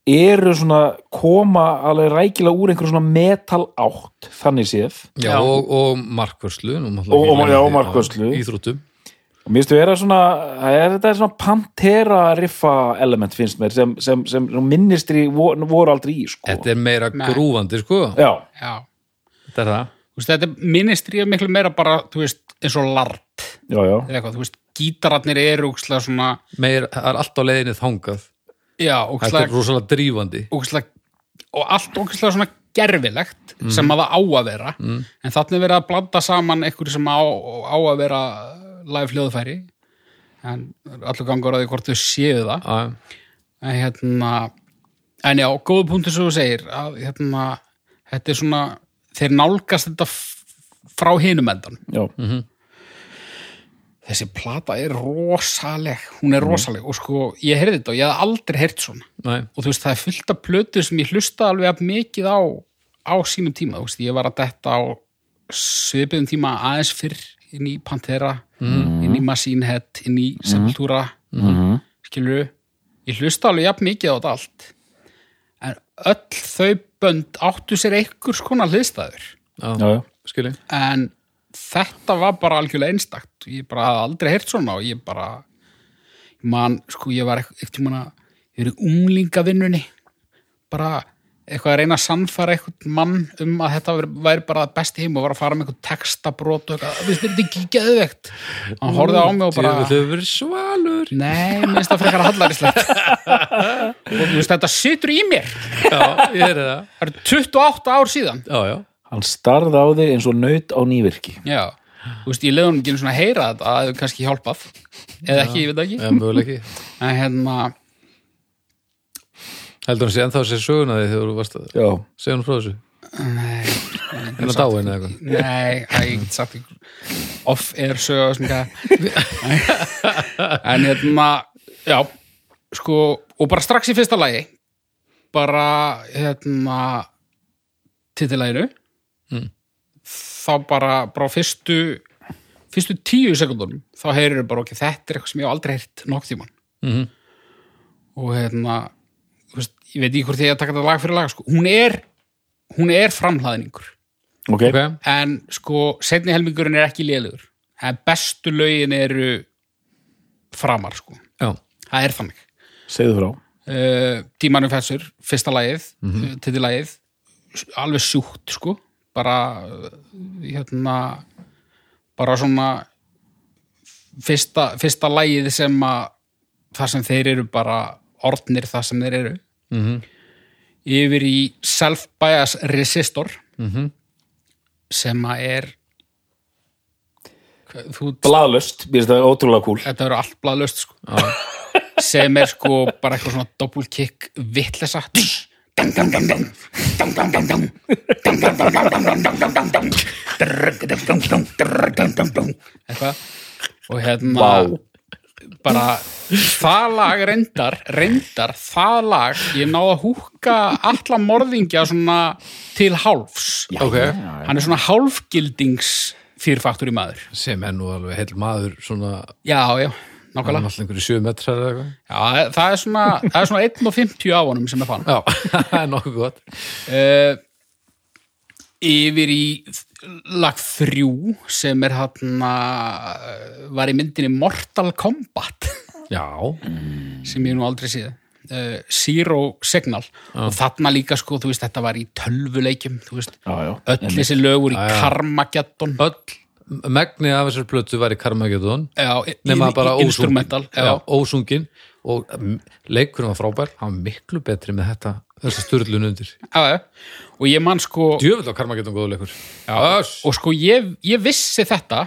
C: eru svona koma alveg rækilega úr einhver svona metal átt þannig séð
B: Já, og, og markvörslu. nú náttúrulega
C: Og- og-
B: víða í-
C: já,
B: á
C: markvörslu.
B: Íþróttum.
C: og mér finnst vera svona það er, þetta er svona Pantera riffa element finnst mér sem, sem, sem, sem ministri voru, voru aldrei í sko.
B: Þetta er meira
D: Nei.
B: grúfandi, sko.
C: já,
D: já.
B: Þetta er það.
D: Þú Veist, þetta minnistri er miklu meira bara þú veist, eins og lart
C: já, já,
D: eða eitthvað, þú veist, gítararnir eru úkslega svona,
B: Meir, það er allt á leiðinni þangað.
D: já,
B: Þetta er
D: úkslega,
B: rosalega drífandi.
D: úkslega og allt úkslega svona gerfilegt
B: Mhm.
D: sem að það á að vera mm. en þannig er verið að blanda saman einhverju sem á, á að vera live hljóðfæri en allur gangur að því hvort þau séu það
B: Já, já.
D: en hérna en já, góðu punktur sem þú segir að hérna, þetta er svona þeir nálgast þetta f- frá hinum endan
C: já.
D: þessi plata er rosaleg hún er rosaleg og sko, ég heyrði þetta og ég hafði aldrei heyrt svona
B: Nei.
D: og þú veist, það er fullt af plötu sem ég hlusta alveg að mikið á á sínum tíma, þú veist, ég var að detta á svipiðum tíma aðeins fyrr inn í Pantera inn í Machine Head, inn í Sepultura
C: Mhm.
D: skilur ég hlusta alveg jafn mikið á þetta allt en öll þau bönd áttu sér einhvers konar hliðstæður
C: já,
B: Mhm.
C: já.
B: skilji.
D: en þetta var bara algjörlega einstakt ég bara hafði aldrei heyrt svona og ég bara man, sko, ég var ekk- ekkert tímann að ég verið unglingavinnunni bara eitthvað að reyna að sannfara eitthvað mann um að þetta væri, væri bara besti heim og var að fara með eitthvað textabrót og eitthvað, við styrir ekki geðvegt hann horfði á mig og bara
B: Þau verið svalur.
D: Nei, minnst það frekar hallarislegt og þú veist, þetta situr í mér
B: Já, ég er það.
D: það eru 28 ár síðan
B: Já, já.
C: hann starði á þig eins og naut á nývirki
D: já, þú veist, ég leiðum ekki einu svona að heyra þetta að það hefur kannski hjálpað eða ekki, ég veit það ekki
B: Já, möguleiki.
D: en hérna,
B: Heldur hann sé ennþá sér söguna því þegar þú varst að
C: já,
B: segja hann frá þessu. Nei. En að dáin eða eitthvað.
D: nei, að ég get sagt ykkur off-air sög og svona eitthvað. en hérna, já sko, og bara strax í fyrsta lagi bara, hérna titilæginu þá bara, bara á fyrstu fyrstu tíu sekundunum þá heyrir þau bara, ok, þetta er eitthvað sem ég hef aldrei heyrt nokk tíman
B: Mhm.
D: og hérna þú veist, ég veit ekki hvort ég er að taka þetta lag fyrir lag sko. hún er, hún er framhlaðningur
C: ok,
B: Ok.
D: en sko, setni helmingurinn er ekki lélugur en bestu lögin eru framar sko.
B: já,
D: það er þannig
C: segðu frá
D: uh, tímanum fessur, fyrsta lagið mm -hmm. titilagið, s- alveg sjúkt sko, bara uh, hérna bara svona fyrsta, fyrsta lagið sem að það sem þeir eru bara orðnir það sem þeir eru yfir í self-bias resistor sem að er Hvað- þú
C: Blaðlust, mér finnst það ótrúlega kúl
D: þetta verður allt blaðlaust sko. sem er sko bara eitthvað svona double kick vitlesa eitthvað og hérna
C: Vá.
D: bara það lag reyndar reyndar, það lag ég náði að húka alla morðingja svona til hálfs
B: ok
D: hann er svona hálfgildings fyrirfaktur í maður
B: sem er nú alveg heil maður svona,
D: já, já, nákvæmlega
B: hann er alltaf einhverju sjö metrar eða eitthvað
D: Já, það er svona, það er svona 1.50 á honum sem er fann.
B: já, [LAUGHS] það er nokkuð gott
D: Uh, yfir í lag 3 sem er hann eh, var í myndinni Mortal Kombat [LAUGHS]
B: já,
D: sem ég hef nú aldrei séð. Uh, Zero Signal og þarna líka sko, þú veist, þetta var í tölvuleikjum, þú veist,
C: Já, já.
D: öll þessi lögur í
B: já.
D: Karmageddon.
B: öll megnið af þessar plötu var í Karmageddon
D: Já, í-
B: nema
D: í-
B: bara
D: í-
B: ósungin
D: instrumental, já.
B: já, ósungin og mm, leikurinn var frábær, hann var miklu betri með þetta, þessa sturlun undir
D: Já, já. og ég man sko
B: djöfull á Karmageddon góðu leikur já,
D: og sko ég, ég vissi þetta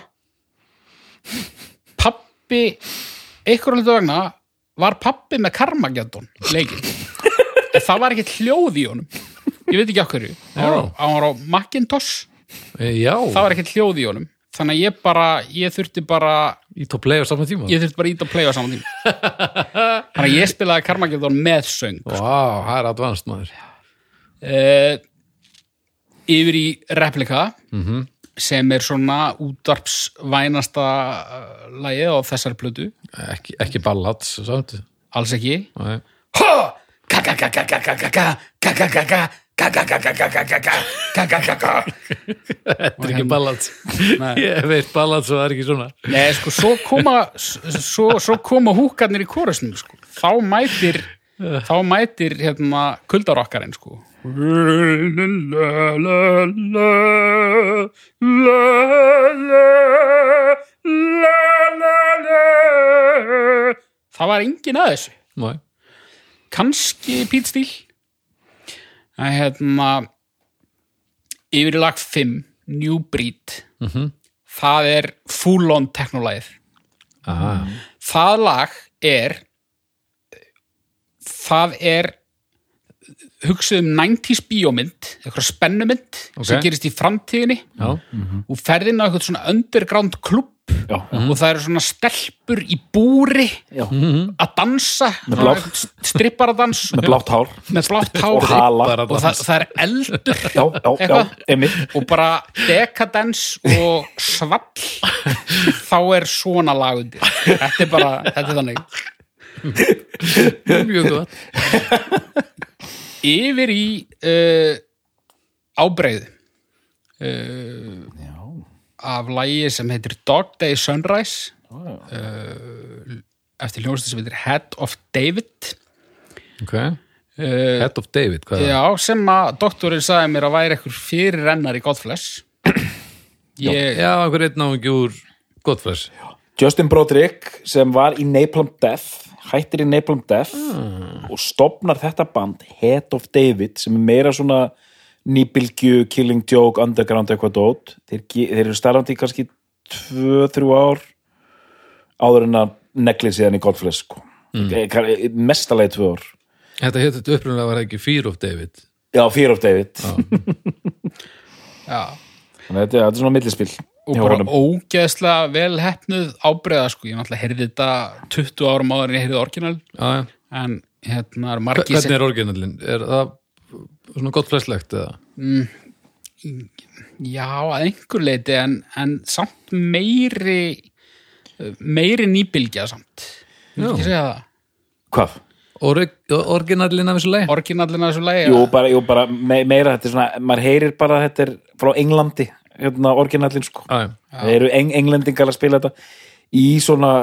D: pappi einhverjum hlutu vegna var pappi með Karmageddon leikin en það var ekki hljóð í honum ég veit ekki af hverju hann var, á- hann var á Macintosh,
B: já
D: það var ekki hljóð í honum þannig að ég bara, ég þurfti bara
B: í tók play á saman tíma
D: ég þurfti bara ít að playa saman tíma þannig að ég spilaði Karmageddon með söng
B: Vá, það er advanced maður
D: uh, yfir í replika sem er svona útvarpsvænasta uh, lagið á þessar plötu
B: ekki, ekki ballads samt
D: alls ekki
B: Nei. þetta er ekki ballads [LAUGHS] ég veit ballads og það er ekki svona
D: Nei, sko, svo koma s- svo, svo koma húkarnir í kórusnum sko. þá mætir þá mætir hérna kuldarokkarinn sko það var engin að þessu
B: Nei.
D: kannski pítstíl að hérna yfir í lag 5 New Breed
C: Mhm.
D: það er full on teknolagið
B: Ah,
D: það lag er það er hugsað um 90s bíómynd eitthvað spennumynd sem gerist í framtíðinni
B: já,
C: Mhm.
D: og ferðin á eitthvað svona underground klubb
C: Já,
D: og það eru svona stelpur í búri
C: já,
D: að dansa
C: Mhm. Með blátt.
D: stripparadans
C: með blátt hár
D: með blátt
C: og
D: hár
C: hala
D: og það, það er eldur
C: Já, já, já,
D: Eitthvað?
C: einmitt
D: og bara dekadens og svall þá er svona lagundir þetta er bara, þetta er þannig
B: mjög gott
D: yfir í uh, ábreið uh, af lægi sem heitir Dog Day Sunrise uh, eftir hljóðstu sem heitir Head of David
B: okay.
D: uh,
B: Head of David, hvað er það?
D: já, sem að doktorinn sagði mér að væri ekkur fyrir rennar í Godflesh ég,
B: Já, einhver einn náungi úr Godflesh
C: Justin Broderick sem var í Napalm Death hættir í Napalm Death og stopnar þetta band Head of David sem er meira svona nýbylgju, killing joke, underground eitthvað dót þeir, ge- þeir eru starfandi í kannski 2-3 ár áður en að neglið síðan í Godflesh sko. mm. mestalegi 2 ár
B: Þetta hefði þetta upprunalega var það ekki Fear of David
C: já, Fear of David
D: já
C: [LAUGHS] þannig að þetta, þetta er svona millispil
D: og
C: hjá
D: bara
C: honum.
D: ógeðslega vel hefnuð ábreiða sko, ég náttúrulega heyrði þetta 20 árum áður en ég heyrði orginal
B: já, já.
D: en hérna er
B: Hver-
D: margir
B: Hvernig
D: sem,
B: er orginallin? Er það svona Godfleshlegt eða?
D: já að einhver leiti en, en samt meiri meiri nýbylgja samt Vil ekki segja það?
C: hvað?
B: Orig, orginallin af þessu leið?
D: orginallin að þessu lægi
C: Jú, bara, jú, bara me meira þetta er svona, maður heyrir bara að þetta er frá Englandi, hérna orginallin sko
B: Já, já.
C: það eru eng englendingar að spila þetta í svona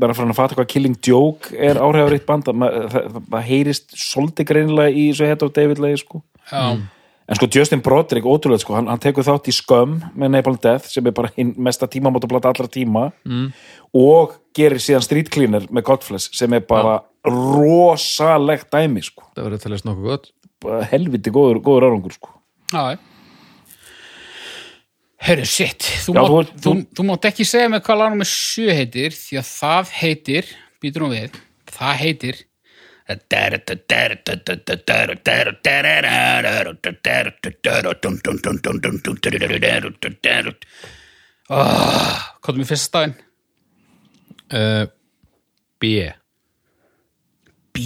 C: bara farin að fatta hvað Killing Joke er áhrifaritt band að maður- það, það, það heyrist svolítið greinilega í þessu Head of David lagi sko.
D: já,
C: en sko Justin Broderick, ótrúlega sko hann, hann tekur þátt í Skömm með Napalm Death sem er bara hinn mesta tímamótablata allra tíma mm. og gerir síðan Street Cleaner með Godflesh sem er bara rosalegt dæmi sko
B: það verður að teljast nokkuð gott
C: Bara helviti góður, góður árangur sko
D: já Hörru, shit, þú,
C: Já,
D: mátt,
C: þú
D: þú,
C: ert-
D: þú,
C: þú-
D: mátt ekki segja með hvað lagnum með sjö heitir því að það heitir, býtur hún við það heitir Ah, Hvað er mér fyrsta stafinn?
B: uh, B já.
D: B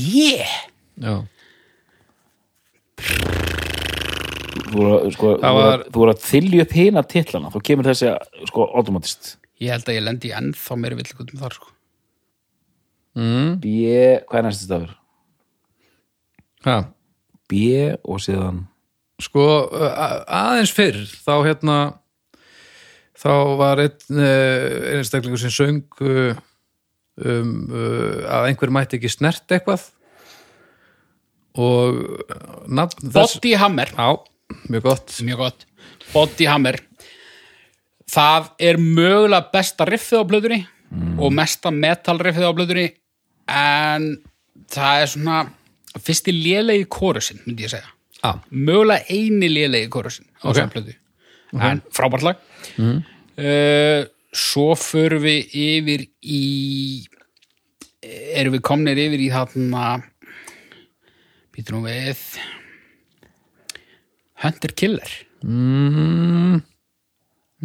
C: þú er að, sko,
B: Það
C: þú er að,
B: var-
C: þú er að þylju upp hina titlana þá kemur þessi sko automatist
D: Ég held að ég lendi í ennþá meiri villikutum þar sko.
B: Mm.
C: B, hvað er næstu stafur?
B: Ha,
C: B og síðan
B: sko uh, aðeins fyrr þá hérna þá var einn uh, einstaklingur sem söng uh, um, uh, að einhver mætti ekki snert eitthvað og uh, nafn þess
D: Body Hammer
B: já, mjög gott
D: mjög gott, Body Hammer það er mögulega besta riffið á blöðunni og mesta metal riffið á blöðunni en það er svona fyrsti lélegi kórusin myndi ég segja,
B: ah,
D: mögulega eini lélegi kórusin á þessum blöðu en frábært lag uh, svo förum við yfir í erum við komnir yfir í þarna býtur nú við Hunter Killer
B: mm,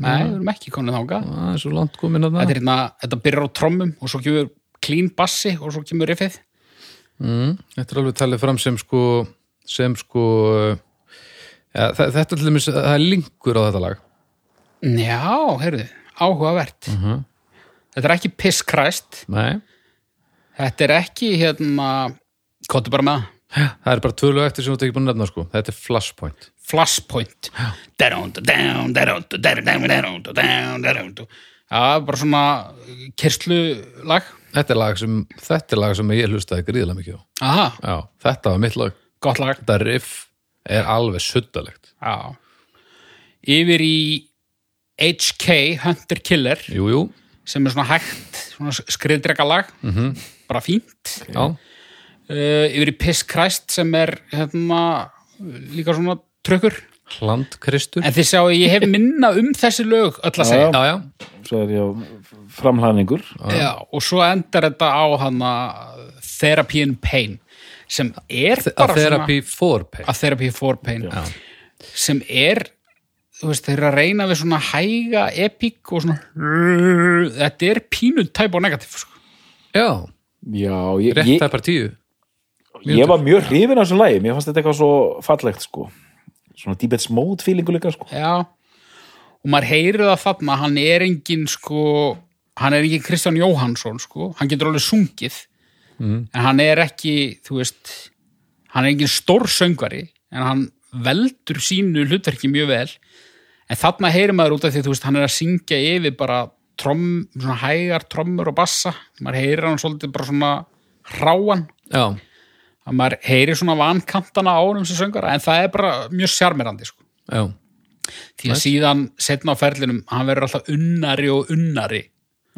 D: Nei, við erum ekki komin þáka
B: það er svo langt komin að
D: Þetta,
B: það
D: er hérna, þetta byrjar á trommum og svo kemur clean bassi og svo kemur riffið
B: mm, þetta er alveg talið fram sem sko sem sko uh, ja, þa- þetta til dæmis, það er linkur á þetta lag
D: Já, heyrðu, áhugavert Þetta er ekki piss kræst
B: nei
D: Þetta er ekki hérna Kottu bara með það.
B: Það er bara tvölu eftir sem þú ert ekki búin að nefna sko. Þetta er flashpoint.
D: Flashpoint Derundu, derundu, derundu, derundu, derundu, derundu Já, bara svona kyrslulag
B: Þetta er lag sem, þetta er lag sem ég hlustaði gríðlega mikið á.
D: Aha,
B: Já, þetta var mitt lag.
D: gott lag
B: Þetta riff er alveg suttalegt.
D: Já Yfir í HK Hunter Killer
B: Jú, jú.
D: sem er svona hægt svona skriðdrekalag bara fínt
B: Já,
D: uh, yfir í Piss Christ sem er hérna, líka svona trökkur
B: hlandkristur.
D: en þið sjáu ég hef minna um þessi lög öll að segja
B: Já, já.
C: svo er ég framhlaðningur
D: Já, og svo endar þetta á hana Therapy in Pain sem er bara
B: Að therapy for pay.
D: að Therapy for Pain sem er þú veist, þeir eru að reyna við svona hæga epík og svona þetta er pínu tæp og negatíf sko.
B: Já,
C: já, ég,
B: rétt
C: ég,
B: tæpar tíu.
C: ég var mjög hrifin af þessu lagi mér fannst þetta eitthvað svo fallegt sko svona deepest mode feelingu líka sko
D: Já, og maður heyrir það þarna, hann er engin sko, hann er engin Kristján Jóhansson sko, hann getur alveg sungið, en hann er ekki, þú veist, hann er engin stór söngvari, en hann veldur sínu hlutverki mjög vel, en þarna heyrir maður út af því, þú veist, hann er að syngja yfir bara tromm, svona hægar trommur og bassa, maður heyrir hann svolítið bara svona hráan,
B: Já,
D: að maður heyrir svona vankantana á honum sem söngvara, en það er bara mjög sjarmirandi sko
B: já.
D: því að síðan setna á ferlinum hann verður alltaf unnari og unnari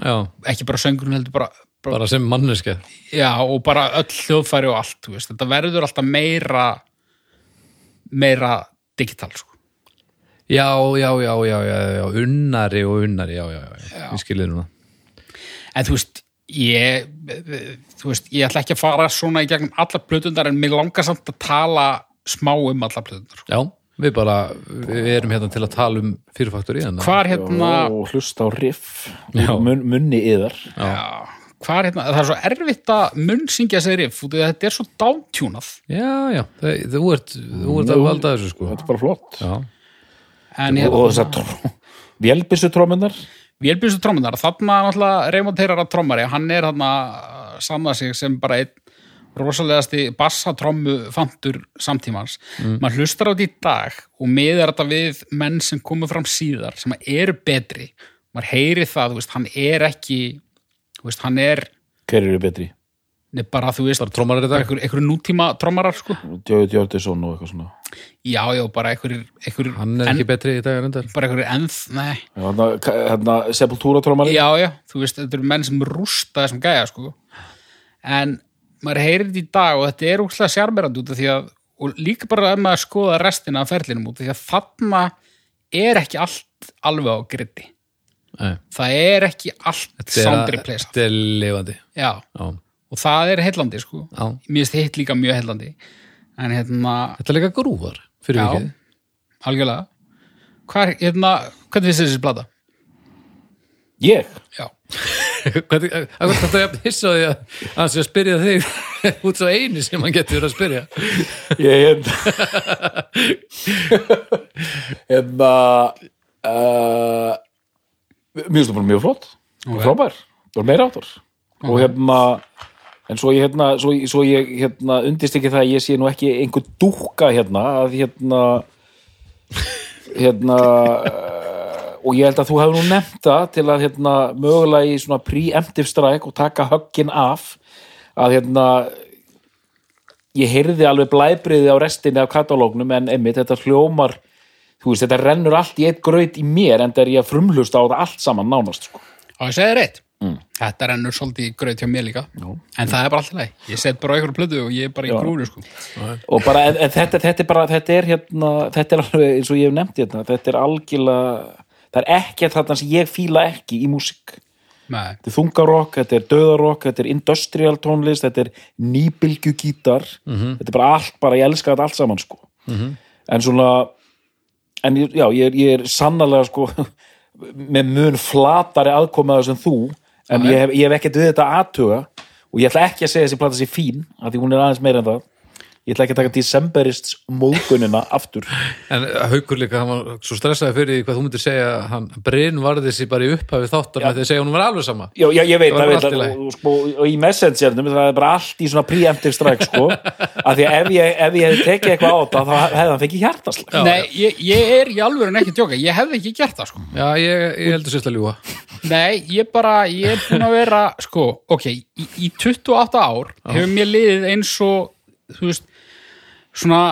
B: Já,
D: ekki bara söngurinn heldur bara, bara
B: bara sem manneska.
D: já, og bara öll hljóðfæri og allt þú veist. þetta verður alltaf meira meira digital sko.
B: Já, já, já, já, já, já, unnari og unnari, já, já, já, já. ég skilði núna.
D: en þú veist ég, þú veist, ég ætla ekki að fara svona í gegnum allar plötundar en mig langar samt að tala smá um allar plötundar sko.
B: Já, við bara, við erum hérna til að tala um fyrirfaktur í hann.
D: hvað er hérna
C: og hlusta á riff
B: Já.
C: mun, munni yðar
D: já, hvað er hérna, það er svo erfitt að munnsingja sér riff, út af því að þetta er svo dátjúnað
B: Já, já, það, þú ert, þú ert að valda þessu sko
C: þetta er bara flott
B: Já,
D: en hérna,
C: og þess [LAUGHS] að vélbissu trómunar
D: Vélbjörnstu trómunar, þarna náttúrulega Raymond Teyrara trommari, hann er hann að sanna sig sem bara einn rosalegasti bassatrommu fantur samtímans.
B: Mm.
D: Maður hlustar á þetta í dag og miðar þetta við menn sem komu fram síðar, sem eru betri. Maður heyri það, þú veist, hann er ekki þú þú veist, hann er,
C: Hver eru betri?
D: hann er bara, þú veist,
B: bara trómarar í dag
D: einhver, einhver nútíma trommarar, sko.
C: Djóði Djóðisson og eitthvað svona
D: Já, já, bara einhver, einhver,
B: hann er ekki betri í dag en endar
D: bara einhver enð, nei.
C: Já, Hérna, hérna Sepultúra trómari
D: Já, já, þú veist, þetta eru menn sem rústa þessum gæja, sko. En maður heyrir þetta í dag og þetta er úrslega sjarmerandi út af því að, og líka bara ef maður skoða restina af ferlinum út af því að þarna er ekki allt alveg á gritti. Það er ekki allt sound replace.
B: þetta er lifandi
D: Já,
B: Já.
D: og það er heillandi, sko.
B: Já.
D: Mér finnst hitt líka mjög heillandi. En hérna,
B: þetta er líka grúvar fyrir
D: Já.
B: vikið
D: algjörlega, hvað, er- hérna, hvernig finnst þér þessi blada?
C: Ég?
D: Já.
B: Hvernig- að- að- Þetta er jafn hissa á því að hann sé að spyrja þig út svo einu sem hann getur verið að spyrja
C: Ég hérna Hérna uh, Mér finnst það bara mjög flott okay. Frábær, það var meira áttur Og hérna En svo ég, hérna, svo, ég- svo ég hérna, undist ekki það að ég sé nú ekki einhver dúkka hérna að hérna hérna eh, og ég held að þú hefur nú nefnt það til að hérna mögulega í svona preemptive strike og taka höggin af að hérna ég heyrði alveg blæbriði á restinni af katalógnum en einmitt þetta hljómar þú veist, þetta rennur allt í eitt graut í mér en það er ég að frumlusta á það allt saman nánast sko.
D: Og ég segi þér eitt. Þetta rennur svolítið í gröð hjá mér líka. Já. En það er bara alltaf leið. Ég set bara á einhverju plötu og ég er bara í
C: Já.
D: grúnu, sko.
C: og bara, en, en þetta, þetta er bara þetta er hérna, þetta er alveg eins og ég hef nefnt hérna, þetta er algjörlega það er ekkert þarna sem ég fíla ekki í músík
D: Nei.
C: þetta er þungarokk, þetta er döðarokk þetta er industrial tónlist, þetta er nýbylgju gítar þetta er bara allt, bara ég elska þetta allt saman sko. en svona en ég- já, ég er, ég er sannarlega sko, [LAUGHS] með mun flatari aðkomaður sem þú en ég hef, ég hef ekkert við þetta aðtuga og ég ætla ekki að segja þessi plata sér fín af því hún er aðeins meira en það ég ætla ekki að taka decemberists móðgunina aftur
B: En eh, Haukur líka, hann var svo stressaði fyrir því hvað þú myndir segja að hann Bryn varði sér bara í upphafi þáttar með því að segja að hún var alveg sama
C: Já, já, ég veit,
B: Það var
C: það veit
B: allt í
C: að,
B: lagi.
C: og, sko, og í messengernum það er bara allt í svona preemptive strike
B: [LAUGHS]
C: sko, af því að ef ég, ef ég hefði tekið eitthvað á þetta, þá hefði hann fengið hjartaslag
D: Nei, ég, ég er í alvöru en ekki að djóka. Ég hefði ekki gert það, sko.
B: Já, ég, ég heldur sérst að ljúga
D: Nei, ég bara, ég er búin að vera, sko, ok, í, í 28 ár hefur mér liðið eins og, þú veist, svona,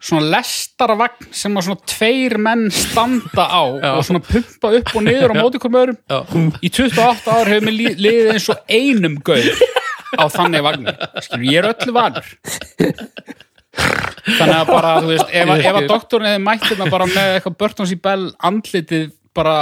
D: svona lestarvagn sem að svona tveir menn standa á
B: [LAUGHS] Já.
D: og svona pumpa upp og
B: [LAUGHS]
D: niður á móti hverjum öðrum.
B: Já.
D: Í 28 ár hefur mér lí- liðið eins og einum gaur á þannig vagnu. Skilur, ég er öllu vanur. Þannig að bara, þú veist, ef, að- ef að doktorin hefði mætt þetta bara með eitthvað Burtons í Bell andlitið bara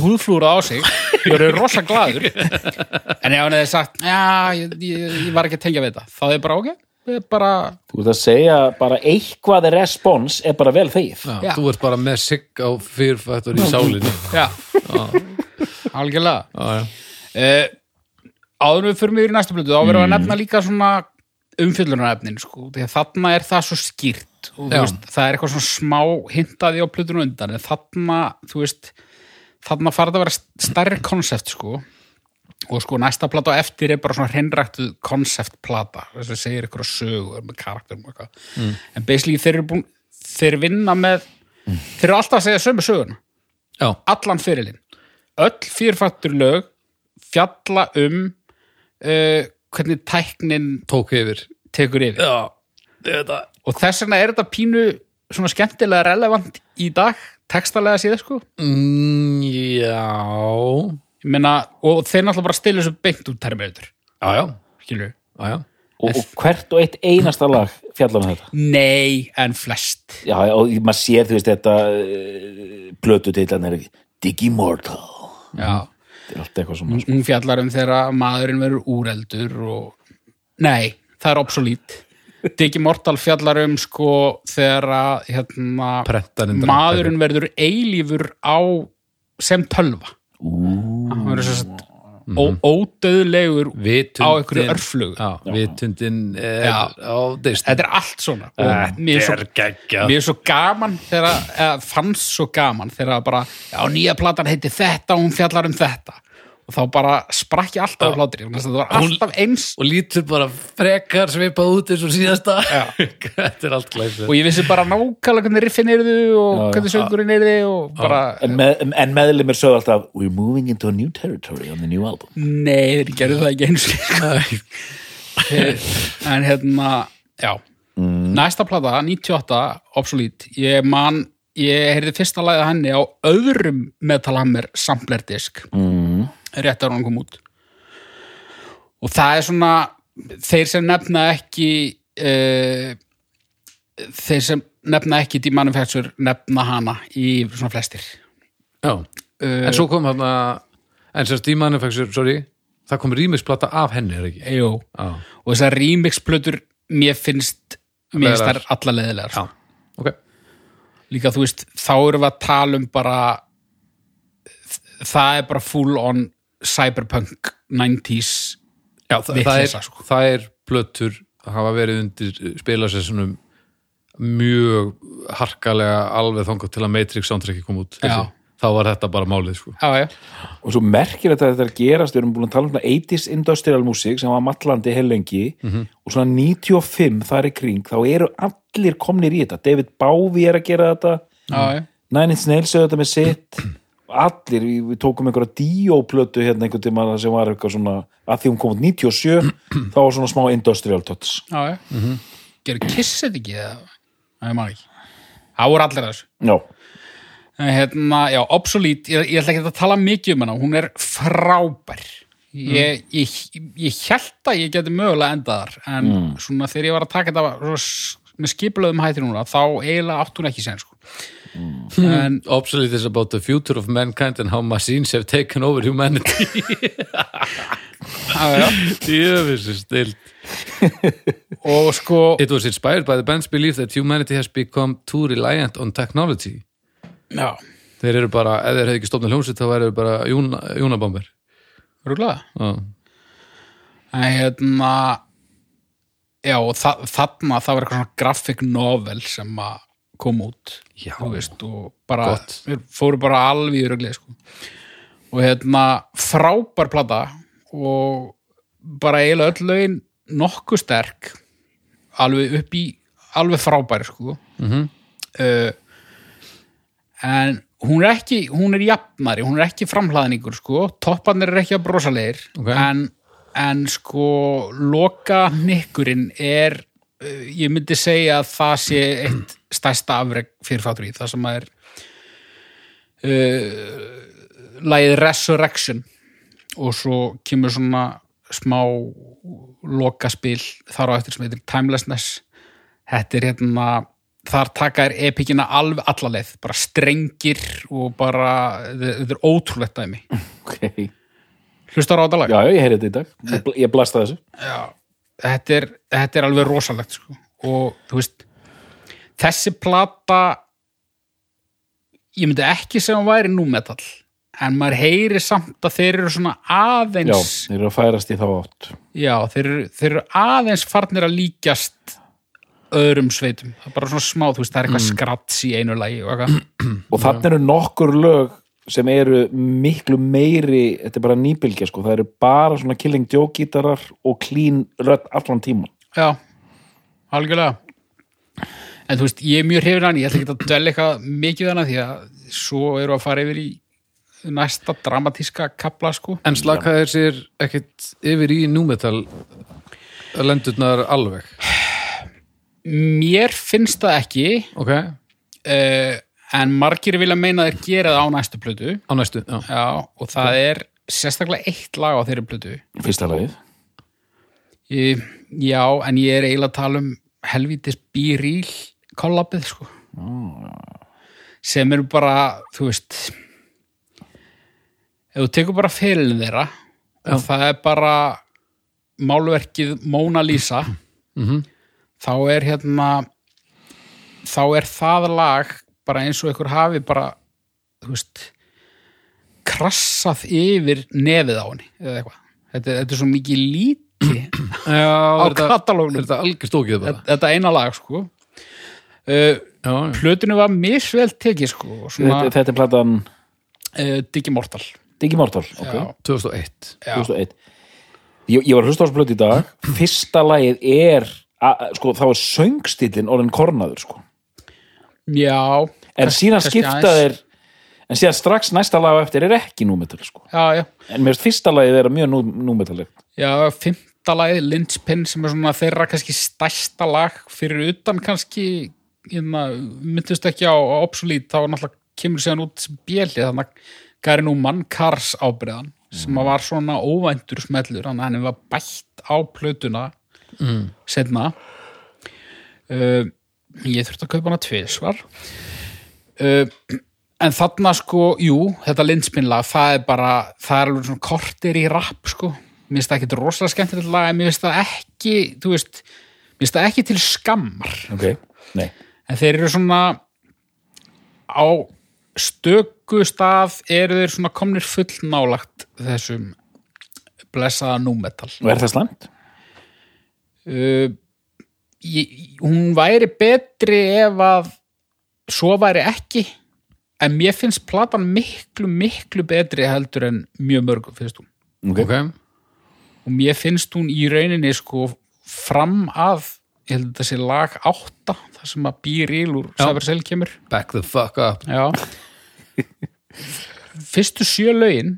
D: húðflúra á sig, þú eru rosa glaður. En ef hann hefði sagt, já, ég, ég, ég var ekki að tengja við þetta, þá er bara ok, það er bara,
C: Þú veist að segja bara eitthvað respons er bara vel þegið
B: Já,
D: Já.
B: Þú ert bara með sigg á fyrfættur í sálinni
D: já, algjörlega.
B: Já, já.
D: Uh, áður en við fyrir mig í næsta blötu, þá verðum við
B: Mm.
D: að nefna líka svona umfyllunarefnin, sko, því að þarna er það svo skýrt og þú
B: Já.
D: veist, það er eitthvað svona smá hintaði á plötunum undan, en þarna, þú veist, þarna farið að vera stærri konsept, sko, og sko næsta plata á eftir er bara svona hreinræktuð konceptplata, þess að segir eitthvað sögur með karakterum og eitthvað
B: Mm.
D: en basically þeir eru búin, þeir vinna með þeir eru alltaf að segja sömu
B: Mm.
D: söguna
B: Já.
D: allan fyrirlin öll fyrirfættur lög fjalla um uh, hvernig tæknin
B: Tók yfir
D: tekur yfir
B: Já, þetta
D: og þess vegna er þetta pínu svona skemmtilega relevant í dag textalega síðan sko
B: mm, Já
D: Ég meina, og þeir náttúrulega bara stilu þessu beint út termiður,
B: Já, já,
D: skilur
B: já, já.
C: og, og hvert og eitt einasta lag fjallar með þetta
D: nei en flest
C: Já, já, og maður sér þú veist þetta eh, blötu til hann er ekki Digimortal,
D: já,
C: þetta er allt eitthvað
B: Mm.
C: svona
D: hún fjallar um þegar að maðurinn verður úreldur og nei, það er [LAUGHS] obsolít Digimortal fjallar um sko þegar að hérna,
B: Prentarinn drapar.
D: maðurinn verður eilífur á sem tölva hann verður svo sagt ó- ódauðlegur á
B: Vitundin-
D: einhverju örflögu
B: Já, vitundin er
D: Já.
B: á deist
D: þetta er allt svona Og mér er svo,
B: geggjað
D: mér er svo gaman þegar að- eða fannst svo gaman þegar að bara, já nýja platan heitir þetta og hún fjallar um þetta og þá bara sprakki alltaf á hlátri þannig að það var
B: Hún-
D: alltaf eins
B: og lítur bara frekar svipað út eins og síðasta [LAUGHS] þetta er allt glæsir
D: og ég vissi bara nákvæmlega hvernig riffin er þau og hvernig söngurinn er þau og bara,
C: En, með, en meðlumir sögðu alltaf We're moving into a new territory on the new album
D: nei, þeir gerðu það ekki eins en hérna, já næsta plata, 98, Obsolete ég man, ég heyrði fyrsta lagið af henni á öðrum Metal Hammer samplerdisk mm. rétt að hún kom út og það er svona þeir sem nefna ekki uh, þeir sem nefna ekki D-Manufacture nefna hana í svona flestir
B: Já, en svo kom þarna en sérst í manufacture, sorry það kom rýmisplata af henni, er ekki?
D: Jú.
B: Já,
D: og þessar remixplötur mér finnst mér finnst þær
B: Leiðilegar.
D: alla leðilegar
B: já, ok
D: sko. líka þú veist, þá erum við að tala um bara það er bara full on cyberpunk 90s
B: já, það, það,
D: Vitleysa,
B: er,
D: sko.
B: það er plötur hafa verið undir spilasessunum mjög harkalega alveg þangað til að Matrix soundtracki kom út
D: Já.
B: þá var þetta bara málið, sko
D: já, já.
C: og svo merkir þetta að þetta er að gerast við erum búin að tala um svona 80s industrial music sem var matlandi heilengi og svona 95 þar í kring þá eru allir komnir í þetta David Bowie er að gera þetta
D: Já, já.
C: Nine Inch Nails er þetta með sitt [CLEARS THROAT] og allir, við, við tókum einhverja Dio-plötu hérna einhvern tímann sem var eitthvað svona að því hún kom út 97 þá var svona smá industrial touch
D: já, já. Mm -hmm. gerðu kissið ekki eða? það er maður ekki það voru allir að þessu
C: Já,
D: En hérna, já, obsolete, ég, ég ætla ekki að tala mikið um hana, hún er frábær ég, ég, ég held að ég geti mögulega endaðar en svona þegar ég var að taka þetta svona s- með skipulöðum hætti núna, þá eiginlega átt hún ekki sen, sko en,
B: Obsolete is about the future of mankind and how machines have taken over [LAUGHS] humanity
D: já, já,
B: Jöfisir stilt
D: og sko
B: It was inspired by the band's belief that humanity has become too reliant on technology
D: já,
B: Þeir eru bara, ef þeir hefðu ekki stofnað hljómsveit þá væru þeir bara júna, júnabomber
D: rúglega
B: Já,
D: en hérna já, og þa þarna það var eitthvað svona graphic novel sem að kom út
B: Já.
D: þú veist, og bara
B: Gott.
D: við fóru bara alveg í röglið sko. og hérna frábær plata og bara eiginlega öll lögin nokkuð sterk alveg upp í alveg frábær sko uh, en hún er ekki hún er jafnari, hún er ekki framhlaðningur sko, topparnir er ekki að brosalegir
B: Ok.
D: en, en sko loka nikkurinn er uh, ég myndi segja að það sé eitt stærsta afreg fyrir fátur í það sem að er uh, lagið Resurrection og svo kemur svona smá lokaspil þar á eftir sem heitir Timelessness þetta er hérna þar taka er epikina alveg allaleið bara strengir og bara þetta þetta er ótrúlegt dæmi
C: ok
D: hlustar á þetta lag?
C: Já, já, ég heyri þetta í dag Ég, bl- ég blasta þessu
D: þetta er, þetta er alveg rosalegt sko. og þú veist þessi plata ég myndi ekki segja hún væri númetall en maður heyri samt að þeir eru svona
C: Já,
D: aðeins
C: þeir eru að færast í þá átt
D: já, þeir, eru, þeir eru aðeins farnir að líkjast öðrum sveitum það er bara svona smá, þú veist, það er eitthvað skrats í einu lagi og eitthvað
C: og þannig eru nokkur lög sem eru miklu meiri þetta er bara nýbylgja sko, það eru bara svona killing joke gítarar og clean rödd allan tíman
D: Já, algjörlega En þú veist, ég er mjög hrifin hann ég ætla ekki að dvelja eitthvað mikið hana því að svo eru að fara yfir í næsta dramatíska kapla sko
B: En slaka þeir sér ekkit yfir í númetal lendurnar alveg
D: Mér finnst það ekki
B: Ok, á
D: uh, en margir vilja meina að þeir gera það á næstu plötu
B: næstu Já,
D: Já, og það er sérstaklega eitt lag á þeirri plötu
C: fyrsta lagið
D: ég, Já, en ég er eiginlega að tala um helvítis býríl kollabið sko sem eru bara, þú veist ef þú tekur bara fyrirlin þeirra og það er bara málverkið Mona Lisa þá er hérna þá er það lag bara eins og ykkur hafi bara þú veist krassað yfir nefið á henni eða eitthvað, þetta, þetta er svo mikið líti
B: á
D: á
B: þetta,
D: katalógnum
B: er þetta algjör stókið bara
D: þetta, þetta eina lag sko uh,
B: Já, já,
D: plötunum var misvel tekið sko,
C: þetta,
D: svona
C: þetta er platan
D: uh, Digimortal
C: Diggi Mártal, ok,
D: Já.
B: 2001
D: Já.
C: 2001 ég, ég var að hlusta á þessu blötu í dag Fyrsta lagið er a, a- sko, þá er söngstillin orðin kornaður sko.
D: Já,
C: en síðan
D: kannski
C: skipta
D: aðeins.
C: þeir en síðan strax næsta lag á eftir er ekki númetal sko.
D: já, já
C: en mér finnst fyrsta lagið er mjög nú, númetalegt
D: Já, fymta lagið, Lynchpin sem er svona þeirra kannski stærsta lag fyrir utan kannski hérna, myndust ekki á, á Obsolete þá náttúrulega kemur séðan út sem bjeli þannig að Gary Newman Cars ábreiðan sem að var svona óvæntur smellur þannig að henni var bætt á plötuna mm. setna uh, ég þurfti að kaupa hana tvisvar uh, en þarna sko, jú, þetta linspinla það er bara, það er alveg svona kortir í rapp sko, mér finnst það ekki rosalega skemmtilegt lag, en mér finnst það ekki þú veist, mér finnst það ekki til skammar
C: ok, nei
D: en þeir eru svona á stöku stað eru þeir svona komnir fullnálagt þessum blessaða númetal
C: og er það slæmt?
D: uh, ég- hún væri betri ef að svo væri ekki en mér finnst platan miklu, miklu betri heldur en mjög mörg finnst hún
C: ok,
B: Ok,
D: og mér finnst hún í rauninni sko fram að ég held að þetta sé lag átta það sem að býril úr Sæfarsel kemur
B: back the fuck up
D: Já [LAUGHS] Fyrstu sjö lögin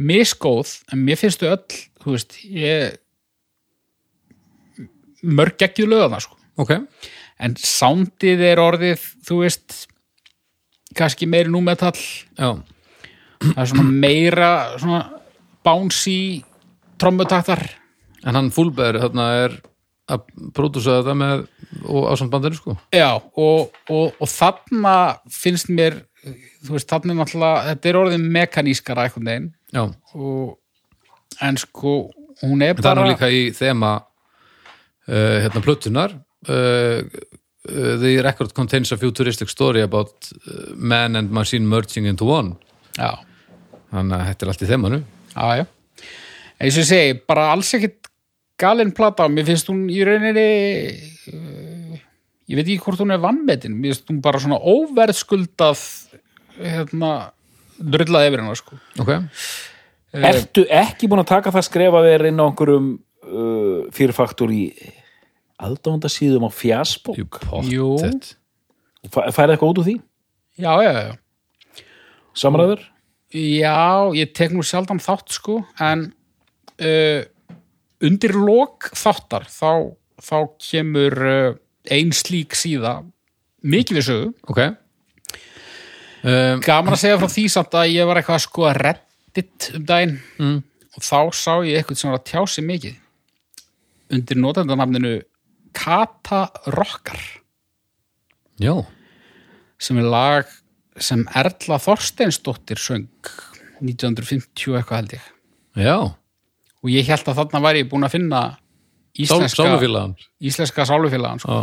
D: misgóð, en mér finnst þau öll þú veist, ég mörg ekki lögana sko.
B: Ok,
D: en soundið er orðið þú veist kannski meiri númetall
B: já,
D: það er svona meira svona bouncy trommutaktar
B: en hann fúlbæður þarna er að pródúsa þetta með og ásamt bandinu sko
D: Já, og, og, og þarna finnst mér þú veist, þarna er náttúrulega þetta er orðið mekanískara eitthvað neginn
B: Já, en
D: og, en sko hún er
B: það er nú
D: bara
B: líka í þema uh, hérna plötunar uh, uh, The record contains a futuristic story about uh, man and machine merging into one
D: já,
B: Þannig að þetta er allt í þemanu
D: já, já. eins og ég segi, bara alls ekkit galin plata, mér finnst hún í rauninni uh, ég veit ekki hvort hún er vannmetin mér finnst hún bara svona óverðskuldað hérna drullað yfir hennar sko
B: Ok,
C: ertu ekki búin að taka það skref að vera inn á einhverjum uh, fyrirfaktur í aðdánda síðum á fjasbók
B: jú,
D: Jú.
B: pottet
C: Fæ- færið eitthvað út úr því?
D: já, já, já
C: samræður?
D: Já, ég tek nú sjaldan þátt sko, en uh, undir lok þáttar þá, þá kemur uh, ein slík síða mikið við sögu.
B: Ok um,
D: Gaman að segja frá því samt að ég var eitthvað að skoða reddit um daginn mm. og þá sá ég eitthvað sem var að tjá sig mikið undir notendanamninu Kata Rockar
B: Já,
D: sem er lag sem Erla Þorsteinsdóttir söng 1950 eitthvað held ég.
B: já
D: og ég held að þarna væri ég búin að finna
B: Sál,
D: íslenska
B: Sálufélagan
D: íslenska sálufélagan sko.
B: Já,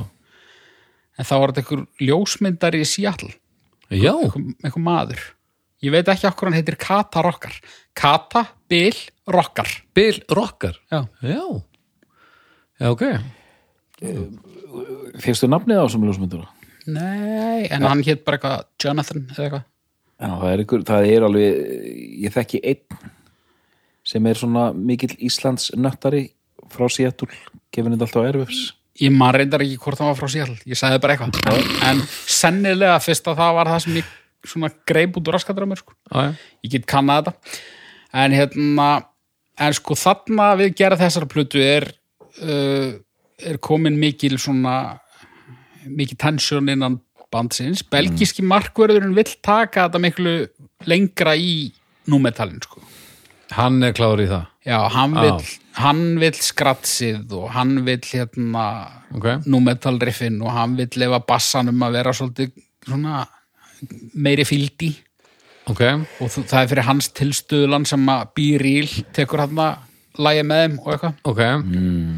D: en þá var þetta einhver ljósmyndari í Seattle
B: já,
D: einhver, einhver maður ég veit ekki okkur hann heitir Kata Rockar Kata Bill Rockar
B: Bill Rockar
D: Já.
B: Já, já ok
C: fyrstu nafnið á þessum ljósmynduna?
D: nei, en hann hétt bara eitthvað Jonathan eða eitthvað
C: Já, það er, ykkur, það er alveg, ég þekki einn sem er svona mikill Íslands nöttari frá Seattle, gefin þetta alltaf á erfis.
D: ég man reyndar ekki hvort hann var frá Seattle ég sagði bara eitthvað en sennilega fyrst að það var það sem ég svona greip út úr raskatramur sko.
B: Já, já
D: ég get kannað þetta en hérna en sko þarna við gera þessar plötu er uh, er komin mikil svona mikil tensjón innan bandsins belgíski markverðurinn vill taka þetta miklu lengra í númetalin sko
B: Hann er klár í það,
D: já, hann
B: Já.
D: vill, hann vill skratsið og hann vill hérna
B: ok
D: númetal riffin og hann vill lefa bassanum að vera svolítið svona meiri fyldi
B: Ok,
D: og þú- það er fyrir hans tilstuðlan sem að býrýl tekur hann að lægja með þeim og eitthvað
B: ok
D: Mm.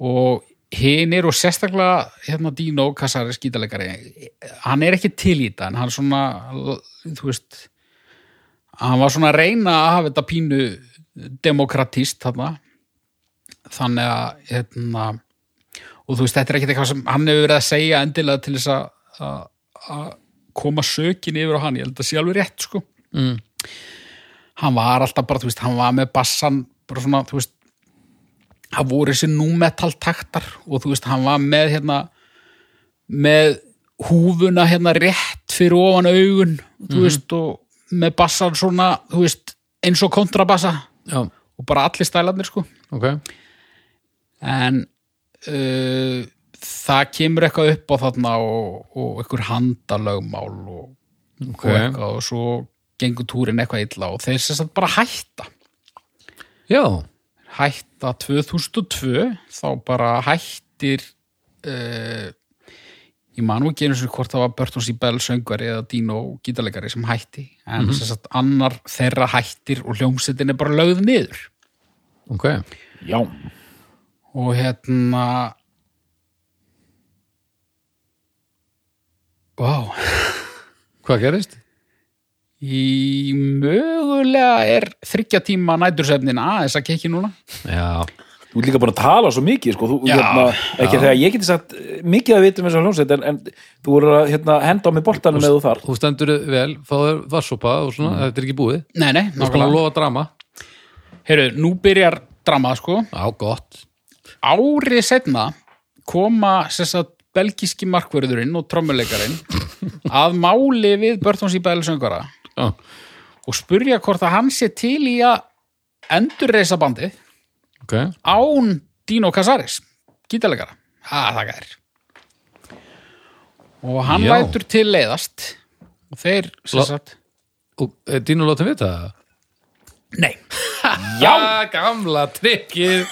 D: og hinir og sérstaklega hérna Dino Kassari skítalegari hann er ekki til í þetta en hann svona þú veist hann var svona að reyna að hafa þetta pínu demokratist þarna þannig að hérna, og þú veist þetta er ekkit eitthvað sem hann hefur verið að segja endilega til þess að- að að koma sökin yfir á hann, ég held að það sé alveg rétt sko
B: mm.
D: hann var alltaf bara, þú veist, hann var með bassan bara svona, þú veist hann voru þessi númetal taktar og þú veist, hann var með hérna með húfuna hérna rétt fyrir ofan augun þú veist, og með bassan svona, þú veist, eins og kontrabassa
B: Já,
D: og bara allir stælarnir, sko
B: ok.
D: en uh, það kemur eitthvað upp á þarna og, og einhver handalögmál og,
B: Ok.
D: og eitthvað og svo gengur túrin eitthvað illa og þeir sem sagt bara hætta
B: Já,
D: hætta 2002 þá bara hættir uh, ég man nú ekki einu sinni hvort það var Bertons í Bell söngari eða Dino gítalegari sem hætti en sem sagt annar þeirra hættir og hljómsettin er bara lögð niður
B: ok.
C: já,
D: og hérna Vá,
B: Hvað gerist?
D: í mögulega er þryggja tíma nætursefnin aðeins að kekki núna
B: Já,
C: þú er líka búin að tala svo mikið sko, þú,
D: Já,
C: hérna, ekki þegar ég geti sagt eh, mikið að vita um þessu hljómsveit en, en þú voru að hérna, henda á mig boltanum eða þú þar
B: þú stendur þig vel, fáður varsopa og svona, þetta er ekki búið.
D: Nei, nei,
B: Þú skal að
D: nákvæmlega
B: lofa drama.
D: Heyrðu, nú byrjar dramað sko
B: Já, gott.
D: Árið setna koma sem sagt belgíski markverðurinn og trommuleikarinn að máli við Börtons í Bell söngara
B: Já,
D: og spurja hvort að hann sé til í að endurreisa bandið
B: ok.
D: án Dino Casares gítalegara, ha, það gæðir og hann
B: Já.
D: lætur til leiðast og þeir sem
B: La-
D: sagt,
B: Og eh, Dino látum við það?
D: nei
B: Já! Gamla trikkið.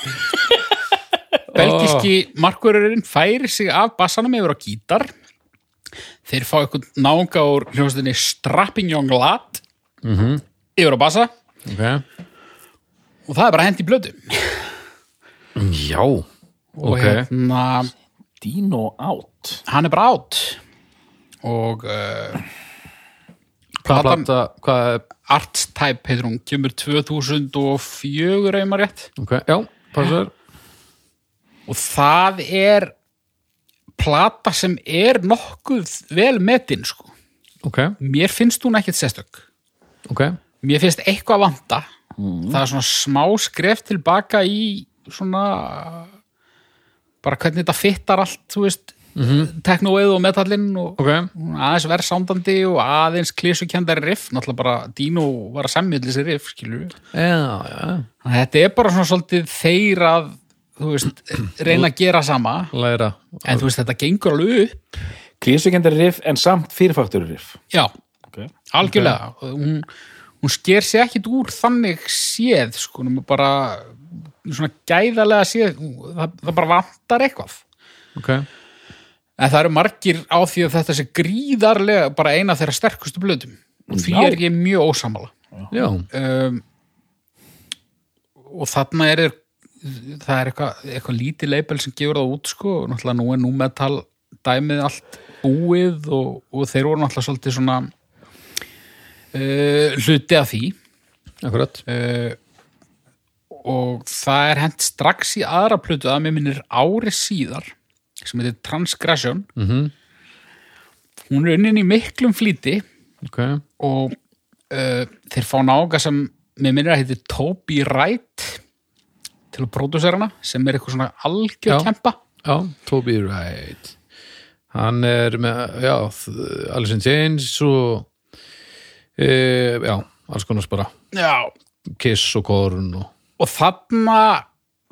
D: belgiski markverurinn færir sig af bassanum yfir á gítar þeir fá eitthvað nánga úr hljómsveitinni Strapping Young Lad
B: Mhm.
D: yfir á bassa
B: Ok.
D: og það er bara hendi blödu
B: Já,
D: og
B: ok.
D: hérna
C: Dino out
D: hann er bara átt og uh,
B: Hvað
D: platan-
B: plata, hvað er,
D: Artstype heitir hún, kemur 2004 ef maður rétt
B: ok, já, passar.
D: og það er plata sem er nokkuð vel metin sko.
B: Ok,
D: mér finnst hún ekkit sérstök
B: ok.
D: mér finnst eitthvað vanda það er svona smá skref tilbaka í svona bara hvernig þetta fittar allt þú veist, mm -hmm. teknóið og metallinn og
B: Ok,
D: hún er aðeins verð sándandi og aðeins klísukendari riff náttúrulega bara Dino var að semja þessi riff skilur við
B: já, já,
D: Þannig að Þetta er bara svona svolítið þeir að þú veist, reyna að gera sama
B: læra
D: en þú veist, þetta gengur alveg upp
C: klísukendari riff en samt fyrirfaktur riff
D: já,
C: okay.
D: algjörlega hún, hún sker sig ekkit úr þannig séð, sko, nema bara svona gæðalega séð það, það bara vantar eitthvað
B: Ok,
D: en það eru margir á því að þetta sé gríðarlega bara eina þeirra sterkustu blöðum og því
C: Já.
D: er ég mjög ósamála
B: já,
D: um, og þarna er það er eitthvað, eitthvað lítið leipel sem gefur það út sko, og náttúrulega nú er nú metal dæmið allt búið og, og þeir voru náttúrulega svolítið svona uh, hluti af því
B: akkurat
D: uh, og það er hent strax í aðra plötu að mér minnir ári síðar sem heitir Transgression
B: Mhm.
D: hún er unnin í miklum flýti
B: Ok,
D: og uh, þeir fá nága sem mér minnir að heiti Toby Wright til að pródúsera hana sem er eitthvað svona
B: Já.
D: algjör kempa
B: já, Toby Wright Hann er með, já, þ- Alice in Chains og e, já, alls konar spara
D: Já.
B: Kiss og Korn og
D: og þarna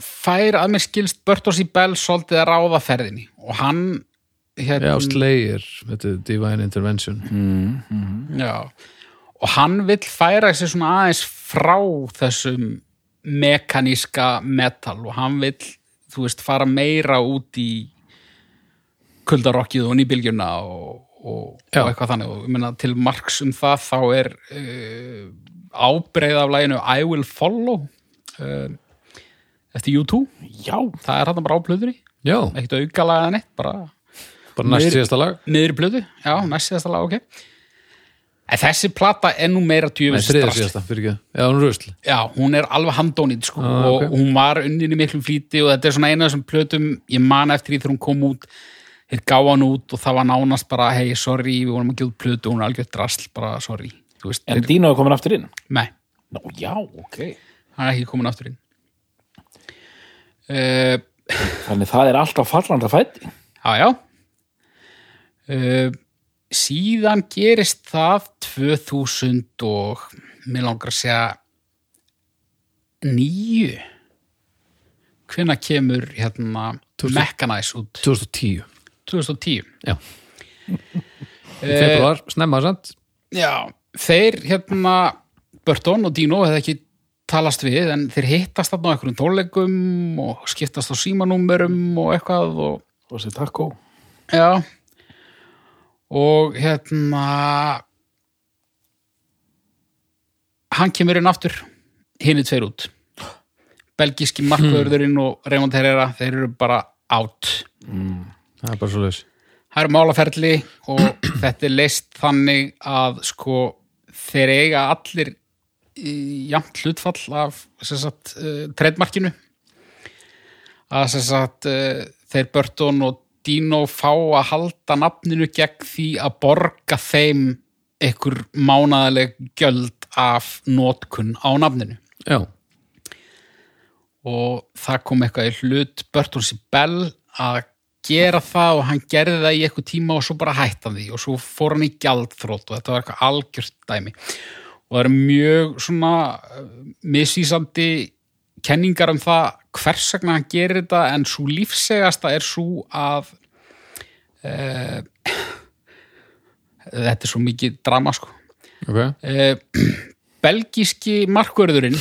D: fær að mér skilst Bertos í Bell svolítið að ráða ferðinni og hann
B: Já,
D: hérna,
B: Slayer, þetta er Divine Intervention
D: Já, og hann vill færa sig svona aðeins frá þessum mekaníska metal og hann vill, þú veist, fara meira út í kuldarokkið og nýbylgjuna og, og, og
B: Já.
D: eitthvað þannig og ég meina, til marks um það þá er uh, ábreið af læginu I Will Follow uh, eftir U2
C: já,
D: það er hann bara á plöðunni,
B: Já,
D: ekkert aukalaðið neitt, bara
B: bara næst
D: Meir-
B: síðasta lag
D: niður í blöðu, já, næst síðasta lag, ok en þessi plata er nú meira
B: Nei,
D: djöfis
B: þriða
D: drasl.
B: síðasta, fyrir ekki Já, hún er rusl
D: já, hún er alveg handónýtt sko,
B: Ah, ok.
D: og hún var unnin í miklum flýti og þetta er svona eina af þessum plötum ég man eftir því þegar hún kom út þeir gáða hann út og það var nánast bara hei, sorry, við vorum að gefa út plötu, hún er algjörð drasl bara, sorry, þú veist,
C: en
D: þeir,
C: Dino er komin aftur inn
D: nei
C: Ná, já, ok.
D: hann er ekki komin aftur inn uh,
C: Þannig það er alltaf fallanda fætti.
D: Já, já. Uh, síðan gerist það 2000 og mér langar að segja nýju. Hvenær kemur hérna Mechanize út?
B: 2010
D: 2010.
B: Í februar, snemma samt
D: Já, þeir hérna Burton og Dino hefði ekki talast við en þeir hittast þarna á einhverjum tónleikum og skiptast á símanúmerum og eitthvað og
C: Og þessi takkó.
D: Já og hérna hann kemur inn aftur hinn er tveir út belgíski markvörðurinn og Raymond Herrera þeir eru bara out
B: Það er bara svo laus
D: það eru málaferli og [CLEARS THROAT] þetta er leist þannig að sko þeir eiga allir í jafnt hlutfall af sem sagt, uh, treydmarkinu að sem sagt, uh, þeir Burton og Dino fá að halda nafninu gegn því að borga þeim einhver mánaðaleg gjöld af notkun á nafninu
B: Já,
D: og það kom eitthvað í hlut Bertons í Bell að gera það og hann gerði það í eitthvað tíma og svo bara hætti hann því og svo fór hann í gjaldþrótt og þetta var eitthvað algjört dæmi og það eru mjög svona eh, misvísandi kenningar um það hvers vegna hann gerir þetta en svo lífsegasta er svo að e, [COUGHS] þetta er svo mikið drama sko
B: ok
D: Eh, [CLEARS THROAT] belgíski markvörðurinn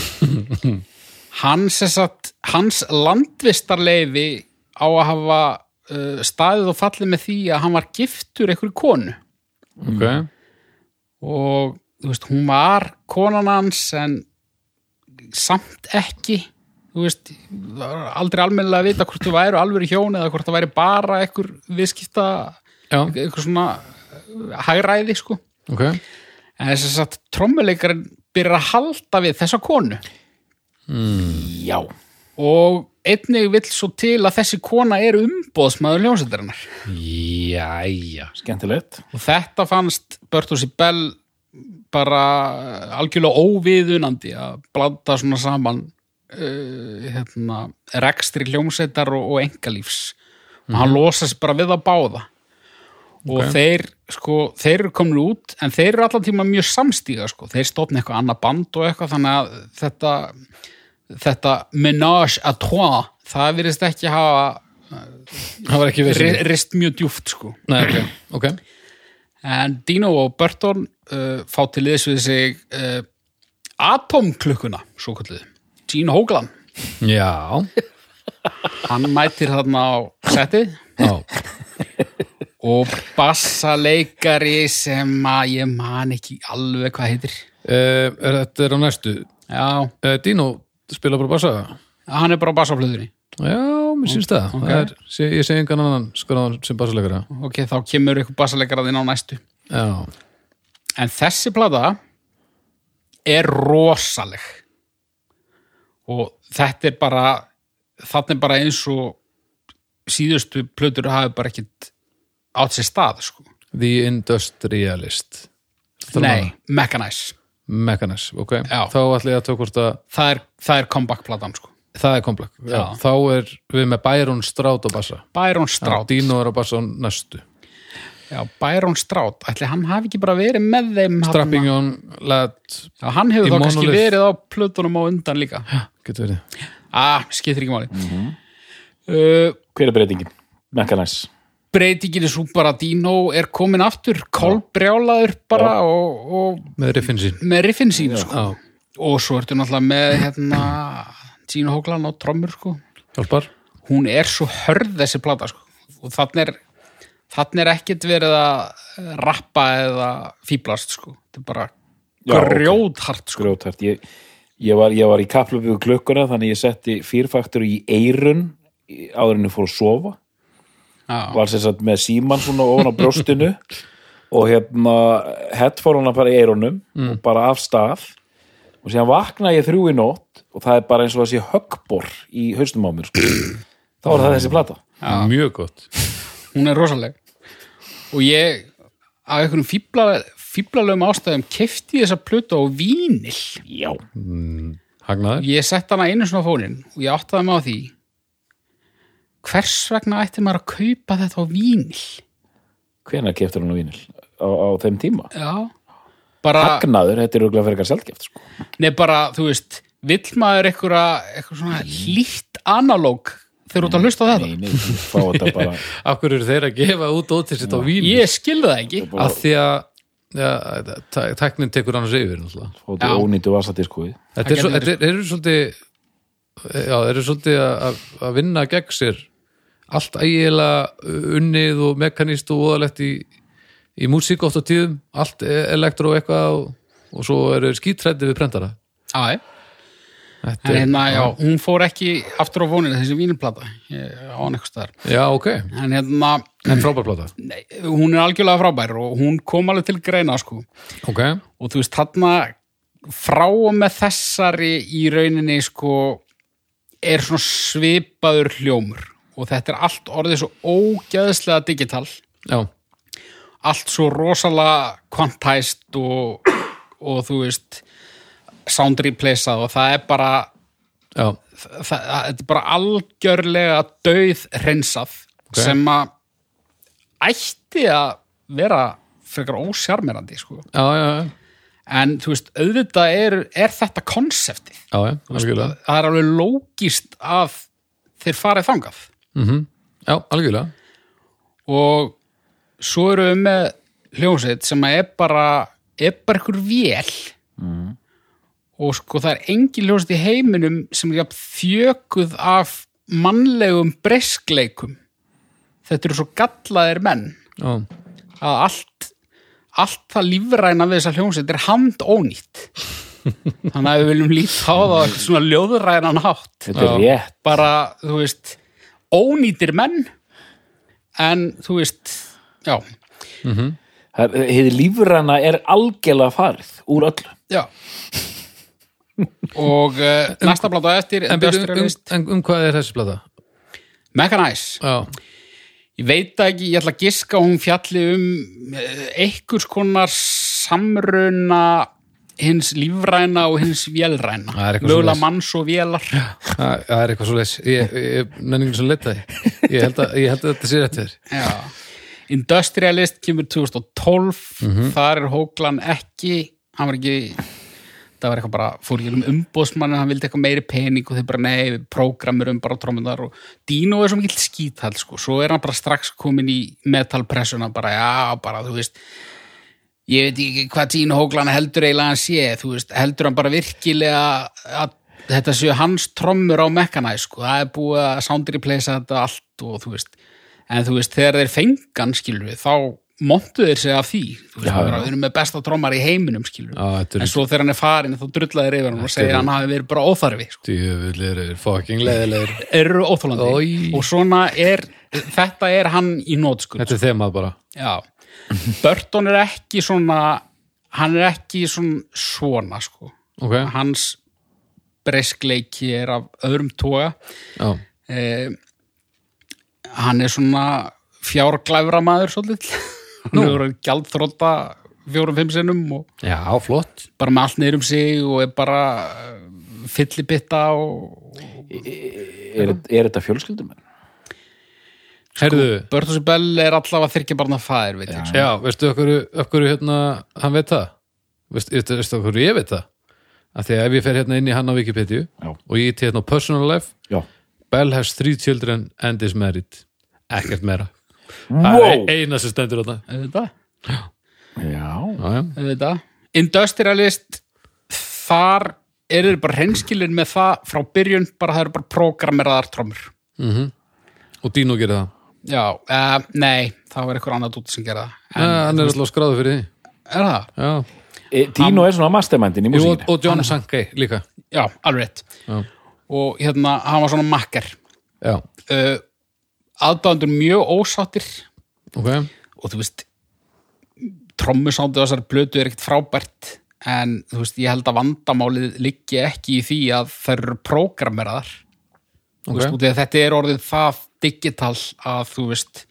D: hann sem sagt, hans landvistarleifi á að hafa uh, staðið og fallið með því að hann var giftur einhverju konu
B: Ok,
D: og þú veist, hún var konan hans en samt ekki þú veist, það var aldrei almennilega að vita hvort þú væri alveg hjón eða hvort það væri bara einhver viðskipta
B: já,
D: einhver svona eh, hagræði sko
B: ok
D: en þess að satt trommuleikarinn byrjar að halda við þessa konu
C: Já.
D: og einnig vill svo til að þessi kona er umbóðsmaður hljómsættarinnar
B: Jæja
C: Skemmtilegt.
D: og þetta fannst Bertus í Bell bara eh, algjörlega óviðunandi að blanda svona saman uh, hérna, rekstri hljómsveitar og, og engalífs og hann losa sér bara við að báða og þeir sko, þeir eru komin út en þeir eru allan tíma mjög samstíga sko. þeir stofna eitthvað annað band og eitthvað þannig að þetta, þetta menage à trois það virðist ekki hafa
B: Það var ekki
D: ri-
B: vissið
D: rist mjög djúft sko
B: Nei, ok, ok
D: En Dino og Burton uh, fá til liðs við sig uh, atomklukkuna, svo kallið. Gene Hoagland,
B: Já,
D: hann mætir þarna á settið
B: [LAUGHS] já,
D: og bassaleikari sem að ég man ekki alveg hvað heitir.
B: Eh, er þetta er á næstu
D: Já,
B: Eh, Dino spila bara bassa
D: hann er bara á bassaflöðunni.
B: Já, mér syns það,
D: ok.
B: það er, sé- Ég segi engan annan skoraðan sem bassalegra
D: Ok, þá kemur ykkur bassaleikaraðinn á næstu.
B: Já,
D: En þessi plata er rosaleg og þetta er bara þarna er bara eins og síðustu plötur hafi bara ekkit átt sér stað sko.
B: The Industrialist Ertu að tala um
D: Nei,
B: hana?
D: Mechanize
B: Mechanize, ok
D: Já.
B: Þá ætla ég að tók hvort að
D: það er, það er comeback platan sko.
B: það er komplek Já.
D: Já.
B: Þá er við með Byron Strát og bassa
D: Byron Stroud
B: Dino er á bassa á næstu
D: Já, Byron Stroud, ætli hann hafi ekki bara verið með þeim þarna?
B: Strapping on Lad
D: Já, hann
B: Í
D: hefur þá kannski
B: Monolith.
D: verið á plötunum á undan líka
B: Getur verið
D: Ah, skiptir ekki máli
B: Mhm.
D: uh,
C: Hver er breytingin? Mekkanæs.
D: breytingin er svo bara að Dino er komin aftur, kolbrjálaður bara og,
B: Með riffin sín
D: og með riffin sín sko.
B: Já,
D: og svo ertu náttúrulega með hérna, Gino Hóklan á trommur sko.
B: hjálpar
D: hún er svo hörð þessi plata sko. og þannig er þannig er ekkert verið að eh, rappa eða fýblast sko. þetta er bara
C: Já, ok.
D: grjóthart sko.
C: Grjótart. Ég, ég, var, ég var í kaplöfu við klukkuna þannig ég setti fyrfaktur í eirun í- áður en ég fór að sofa.
D: Já.
C: Var sem sagt með síman svona ofan á brjóstinu og hérna headphone bara í eirunum og bara af stað og síðan vakna ég þrjú í nótt og það er bara eins og það sé höggbor í haustum á mér. Sko. Þá er það þessi plata.
B: Mjög gott
D: hún er rosaleg og ég af einhverjum fýbla fíblalögum ástæðum kefti þessa plötu á vínil
C: Já,
B: Hagnaður?
D: ég sett hana einu svona fólin og ég áttaði mig á því hvers vegna ætti maður að kaupa þetta á vínil
C: hvenær keftur hún á vínil? Á, á þeim tíma?
D: já bara,
C: Hagnaður, þetta er auðvitað fyrir eitthvað sjálfgeft sko.
D: Nei, bara, þú veist, vill maður eitthvað, eitthvað svona lít analóg þegar þú ert að hlusta á þetta?
C: Nei, nei, ég fá þetta bara
B: Af hverju eru þeir að gefa út ótir sitt á vín?
D: Ég skil það ekki.
B: Af því að ja, tæ- tæknin tekur annars yfir náttúrulega.
C: fá þetta ónýtu vasadískói
B: Þetta er,
D: Það
B: svo,
D: getur-
B: þetta er, eru svolítið já, þeir eru svolítið að- að að vinna gegn sér allt ægilega unnið og mekanist og voðalegt í, í músík oft á tíðum, allt e- elektró eitthvað og, og svo eru skítrætti við prentara.
D: Já, já.
B: Þetta
D: En
B: er-
D: hérna, já, hún fór ekki aftur á voninu þessi vínplata ég, á hann eitthvað staðar.
B: Já, ok,
D: En hérna,
B: en frábær plata.
D: nei, hún er algjörlega frábær og hún kom alveg til greina, sko.
B: Ok,
D: Og þú veist, þarna frá og með þessari í rauninni, sko, er svona svipaður hljómur. Og þetta er allt orðið svo ógeðslega digital.
B: já,
D: allt svo rosalega kvantæst og, og þú veist sound replaceað og það er bara
B: já,
D: það, það, þetta er bara algjörlega dauð hreinsað
B: Ok.
D: sem að ætti að vera frekar ósjarmerandi sko.
B: já, já, já,
D: en þú veist, auðvitað er, er þetta konseptið
B: já, já, algjörlega.
D: það er alveg lógist að þeir farið þangað
B: Já, algjörlega.
D: og svo eru við með hljómsveit sem að er bara er bara ykkur vél og sko það er engin hljómsveit í heiminum sem er jafn þjökuð af mannlegum breskleikum þetta eru svo gallaðir menn
B: Já,
D: að allt allt það lífræna við þessa hljómsveit er hand ónýtt þannig að við viljum líta á það á einhvern svona ljóðrænan hátt
C: Þetta er rétt
D: bara, þú veist, ónýtir menn en, þú veist, já,
C: Það er- Hið lífrana er algjörlega farið úr öllu
D: já. Og uh, næsta blata á eftir,
B: en, byrju, um, um,
D: Industrialist,
B: en um hvað er þessi plata?
D: Mechanize.
B: Já,
D: Ég veit það ekki, ég ætla að giska að hún fjalli um eh, einhvers konar samruna hins lífræna og hins vélræna.
B: Það er eitthvað
D: Mögulega
B: svoleiðis.
D: manns og vélar.
B: það það er eitthvað svo leis. Ég, ég nenningin sem leta því. Ég held að, ég held að þetta sé rétt fyrir.
D: Já. Industrialist kemur 2012
B: Mhm.
D: þar er Hóklan ekki hann var ekki það var eitthvað bara, fór ekki um umbóðsmann hann vildi eitthvað meiri pening og þeir bara nei við prógramurum bara trómmunar og Dino er svo mikill skíthall sko, svo er hann bara strax komin í metalpressuna bara já, bara þú veist ég veit ekki hvað Dino Hóklan heldur eiginlega hann sé, þú veist, heldur hann bara virkilega að þetta séu hans trommur á mekkanæ sko, það er búið að soundri pleysa þetta allt og þú veist en þú veist, þegar þeir fengan skilur við, þá montu þeir sig af því þú veist, bara, við erum með besta trommar í heiminum skilur
B: Já, þetta
D: en
B: er
D: svo þegar hann er farin þá drulla þeir yfir hann og segja að hann hafi verið bara óþarfi sko.
B: djöfulir, er fucking leðilegir.
D: eru óþólandi
B: Oj.
D: og svona er, þetta er hann í sko. nótskun
B: Þetta er þemað bara.
D: Já, Burton er ekki svona hann er ekki svona svona sko,
B: Ok,
D: hans breskleiki er af öðrum toga
B: já,
D: eh, hann er svona fjárglæfra maður svolítið [LAUGHS] hann er orðinn gjaldþróta fjórum-fimm sinnum og
B: já, flott.
D: bara með allt niður um sig og er bara eh, fyllibitta og
C: Er, er þetta fjölskyldumenn?
B: Herðu,
D: Börtus Bell er allavega þyrkja barna fæðir veit ég sko.
B: já, veistu okkur, okkur hérna, hann veit það? Veist, veistu veistu okkur, ég veit það? Af því að ef ég fer hérna inn í hann á Wikipedia
C: Já.
B: og ég ítti hérna á personal life,
C: Já
B: Bell has three children and is married. Ekkert meira. Það
C: Wow!
B: er eina sem stendur á það.
D: auðvitað,
C: Já,
B: Já, já.
D: auðvitað Industrialist þar eru þeir bara hreinskilin með það frá byrjun bara það eru bara prógrameraðar trómur
B: Og Dino gerir það.
D: Já, uh, nei, það var eitthvað annað út sem gera það
B: En, hann er alltaf skráðu fyrir því.
D: Er það?
B: Já.
C: e, Dino er svona mastermindin í
B: Jú, og,
C: músíkinni
B: og John Sankey líka.
D: Já, alveg rétt.
B: Já.
D: Og hérna, hann var svona makkar.
B: Já,
D: Uh, aðdáðandur mjög ósáttir
B: ok.
D: og þú veist, trommusándið á þessari blötu er ekkert frábært en þú veist, ég held að vandamálið liggi ekki í því að þær eru prógrameraðar. Þú
B: Ok.
D: veist, út í að þetta er orðið það digital að þú veist,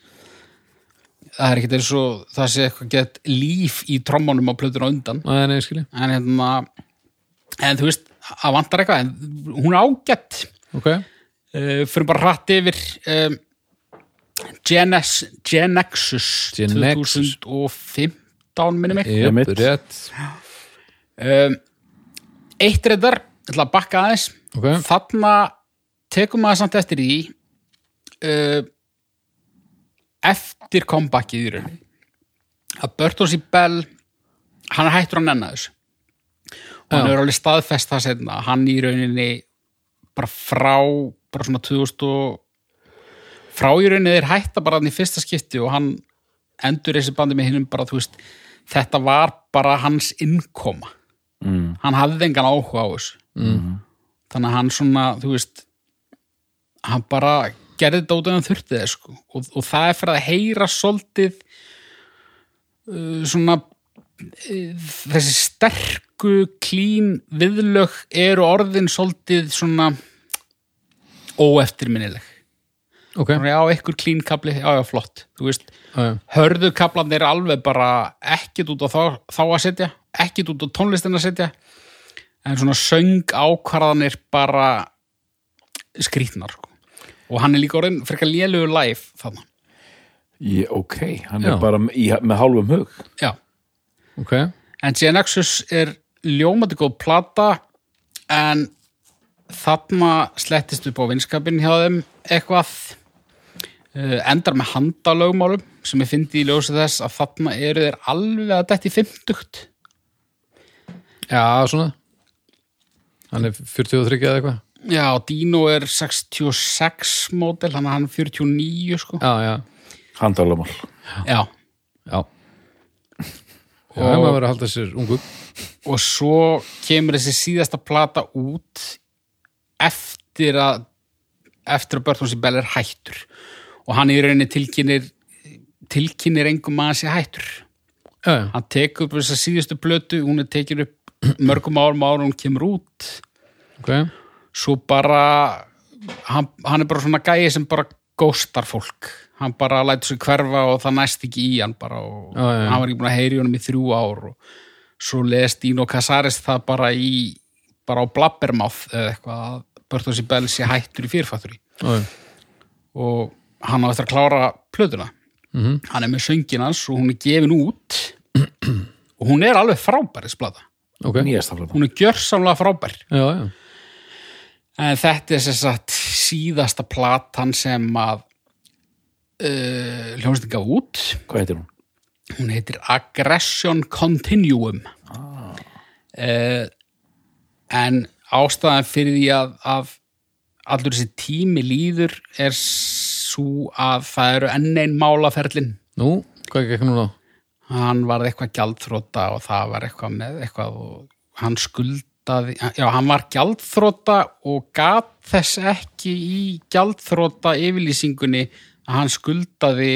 D: það er ekkert eins og það sé eitthvað gett líf í trommunum á plötuna á undan
B: Nei, nei, skilji.
D: en hérna en þú veist, það vantar eitthvað en hún er ágætt
B: Ok.
D: uh, fyrir bara hratt yfir um, Genes, Genexus
B: Genexus.
D: 2015 minnum mig
B: Jöp,
C: Einmitt.
B: rétt.
D: um, Eitt reyndar, ég ætla að bakka aðeins
B: Ok.
D: þarna tekum maður samt eftir í uh, eftir comebackið í rauninni að Bertolsi Bell hann er hættur að nenna þessu og hann
B: Já.
D: er alveg staðfest það setna hann í rauninni bara frá bara svona 2000 og frá í rauninni þeir hætta bara hann í fyrsta skipti og hann endur þessi bandi með hinnum bara þú veist þetta var bara hans innkoma mm. hann hafði engan áhuga á þessu
B: Mm.
D: þannig að hann svona, þú veist hann bara gerði þetta út af hann þurfti þess sko. og, og það er fyrir að heyra svolítið uh, svona uh, þessi sterku klín viðlög eru orðin svolítið svona óeftirminnileg
B: Ok. Já,
D: já, einhver klín kapli, já, já, flott þú veist,
B: já.
D: hörðu kaplan er alveg bara ekkit út á þá, þá að setja ekkit út á tónlistin að setja en svona söng ákvarðanir bara skrýtnar sko. og hann er líka orðin frekar lélugur live þarna
C: Ég, ok, hann
B: Já.
C: er bara í, með hálfum hug
D: Já.
B: Ok.
D: en Genexus er ljómandi góð plata en þarna slettist upp á vinskapin hjá þeim eitthvað Eh, endar með handalögmálum sem ég fyndi í ljósi þess að þarna eru þeir alveg að detti fimmtugt
B: Já, svona. Hann er 43 eða eitthvað.
D: Já, Dino er 66 mótel, þannig að hann er 49 sko.
B: Já, já.
C: Handalumál
D: Já.
B: Já. Já, og... maður verður að halda sér ungu.
D: Og svo kemur þessi síðasta plata út eftir að eftir að Bertons í Bell er hættur og hann í rauninni tilkynir tilkynir engum að hann sé hættur
B: Já, já.
D: hann tekur upp þessa síðustu plötu hún er tekin upp [CLEARS THROAT] mörgum árum árum hún kemur út
B: Ok.
D: svo bara hann, hann er bara svona gæi sem bara góstar fólk hann bara lætur sig hverfa og það næst ekki í hann bara og
B: Já, já, já.
D: hann var ekki búin að heyri honum í þrjú ár og svo leðist Dino Casares það bara í bara á Blabbermouth eða eitthvað að Börthos í Bell sé hættur í fyrirfætturi
B: Já, já.
D: og hann á eftir að klára plötuna
B: Mhm.
D: -hmm. hann er með söngin hans og hún er gefin út og hún er alveg frábæris blada
B: Ok. Já,
C: Nýjasta flata
D: hún er gjörsamlega frábær
B: já.
D: En þetta er sem sagt síðasta platan sem að uh, hljómsnið gaf út.
C: Hvað heitir hún?
D: Hún heitir Aggression Continuum. Ah. en ástæðan fyrir því að, að allur þessi tími líður er svo að það eru enn einn málaferlin.
B: Nú, hvað gekk núna?
D: Hann var eitthvað gjaldþróta og það var eitthvað með eitthvað og hann skuldaði, já, hann var gjaldþróta og gat þess ekki í gjaldþróta yfirlýsingunni að hann skuldaði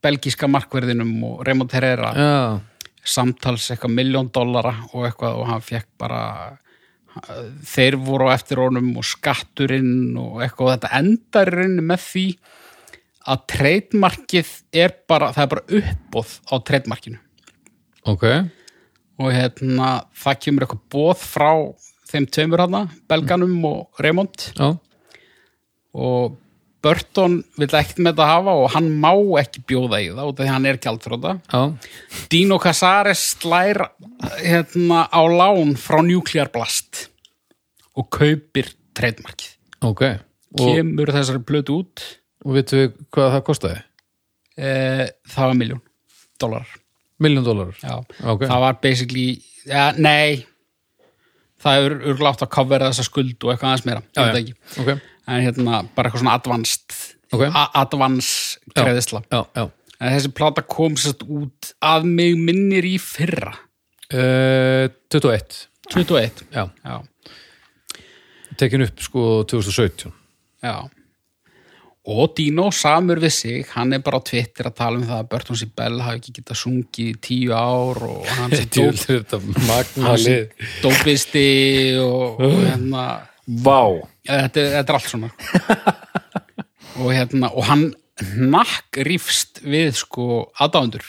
D: belgíska markverðinum og Raymond Herrera
B: Já.
D: samtals eitthvað miljón dollara og eitthvað og hann fekk bara þeir voru á eftir honum og skatturinn og eitthvað og þetta endar í rauninni með því að treytmarkið er bara, það er bara uppbóð á treytmarkinu
B: Ok.
D: og hérna það kemur eitthvað bóð frá þeim tveimur hana, Belganum og Raymond
B: Já.
D: og Burton vill ekkert með þetta hafa og hann má ekki bjóða í það út af því hann er gjaldfróta
B: Já.
D: Dino Casares slær hérna, á lán frá Nuclear Blast og kaupir treytmarkið.
B: Ok. Og,
D: Kemur þessari blötu út
B: og veitum við hvað það kostaði?
D: e, það var miljón dólarar.
B: Miljón dólarar.
D: Já,
B: Ok.
D: það var basically, ja, nei það er örglátt að covera þessa skuld og eitthvað aðeins meira, ég veit það ekki.
B: Ok.
D: En hérna, bara eitthvað svona advanced
B: Ok.
D: a- advance
B: Já.
D: kreðisla.
B: Já, já.
D: En þessi plata kom sérst út að mig minnir í fyrra,
B: Uh, 21.
D: 21.
B: Já.
D: Já.
B: Tekin upp sko 2017.
D: Já. Og Dino samur við sig, hann er bara á Twitter að tala um það að Burton C. Bell hafi ekki getað sungið í tíu ár og hann sem
B: [LAUGHS] Djúl,
D: dóp,
B: þetta magna
D: hann sé
B: lið.
D: dópisti og, og hérna,
C: Vá
D: [LAUGHS] ja, þetta, er- þetta er allt svona. og hérna, og hann nakk rífst við sko aðdándur,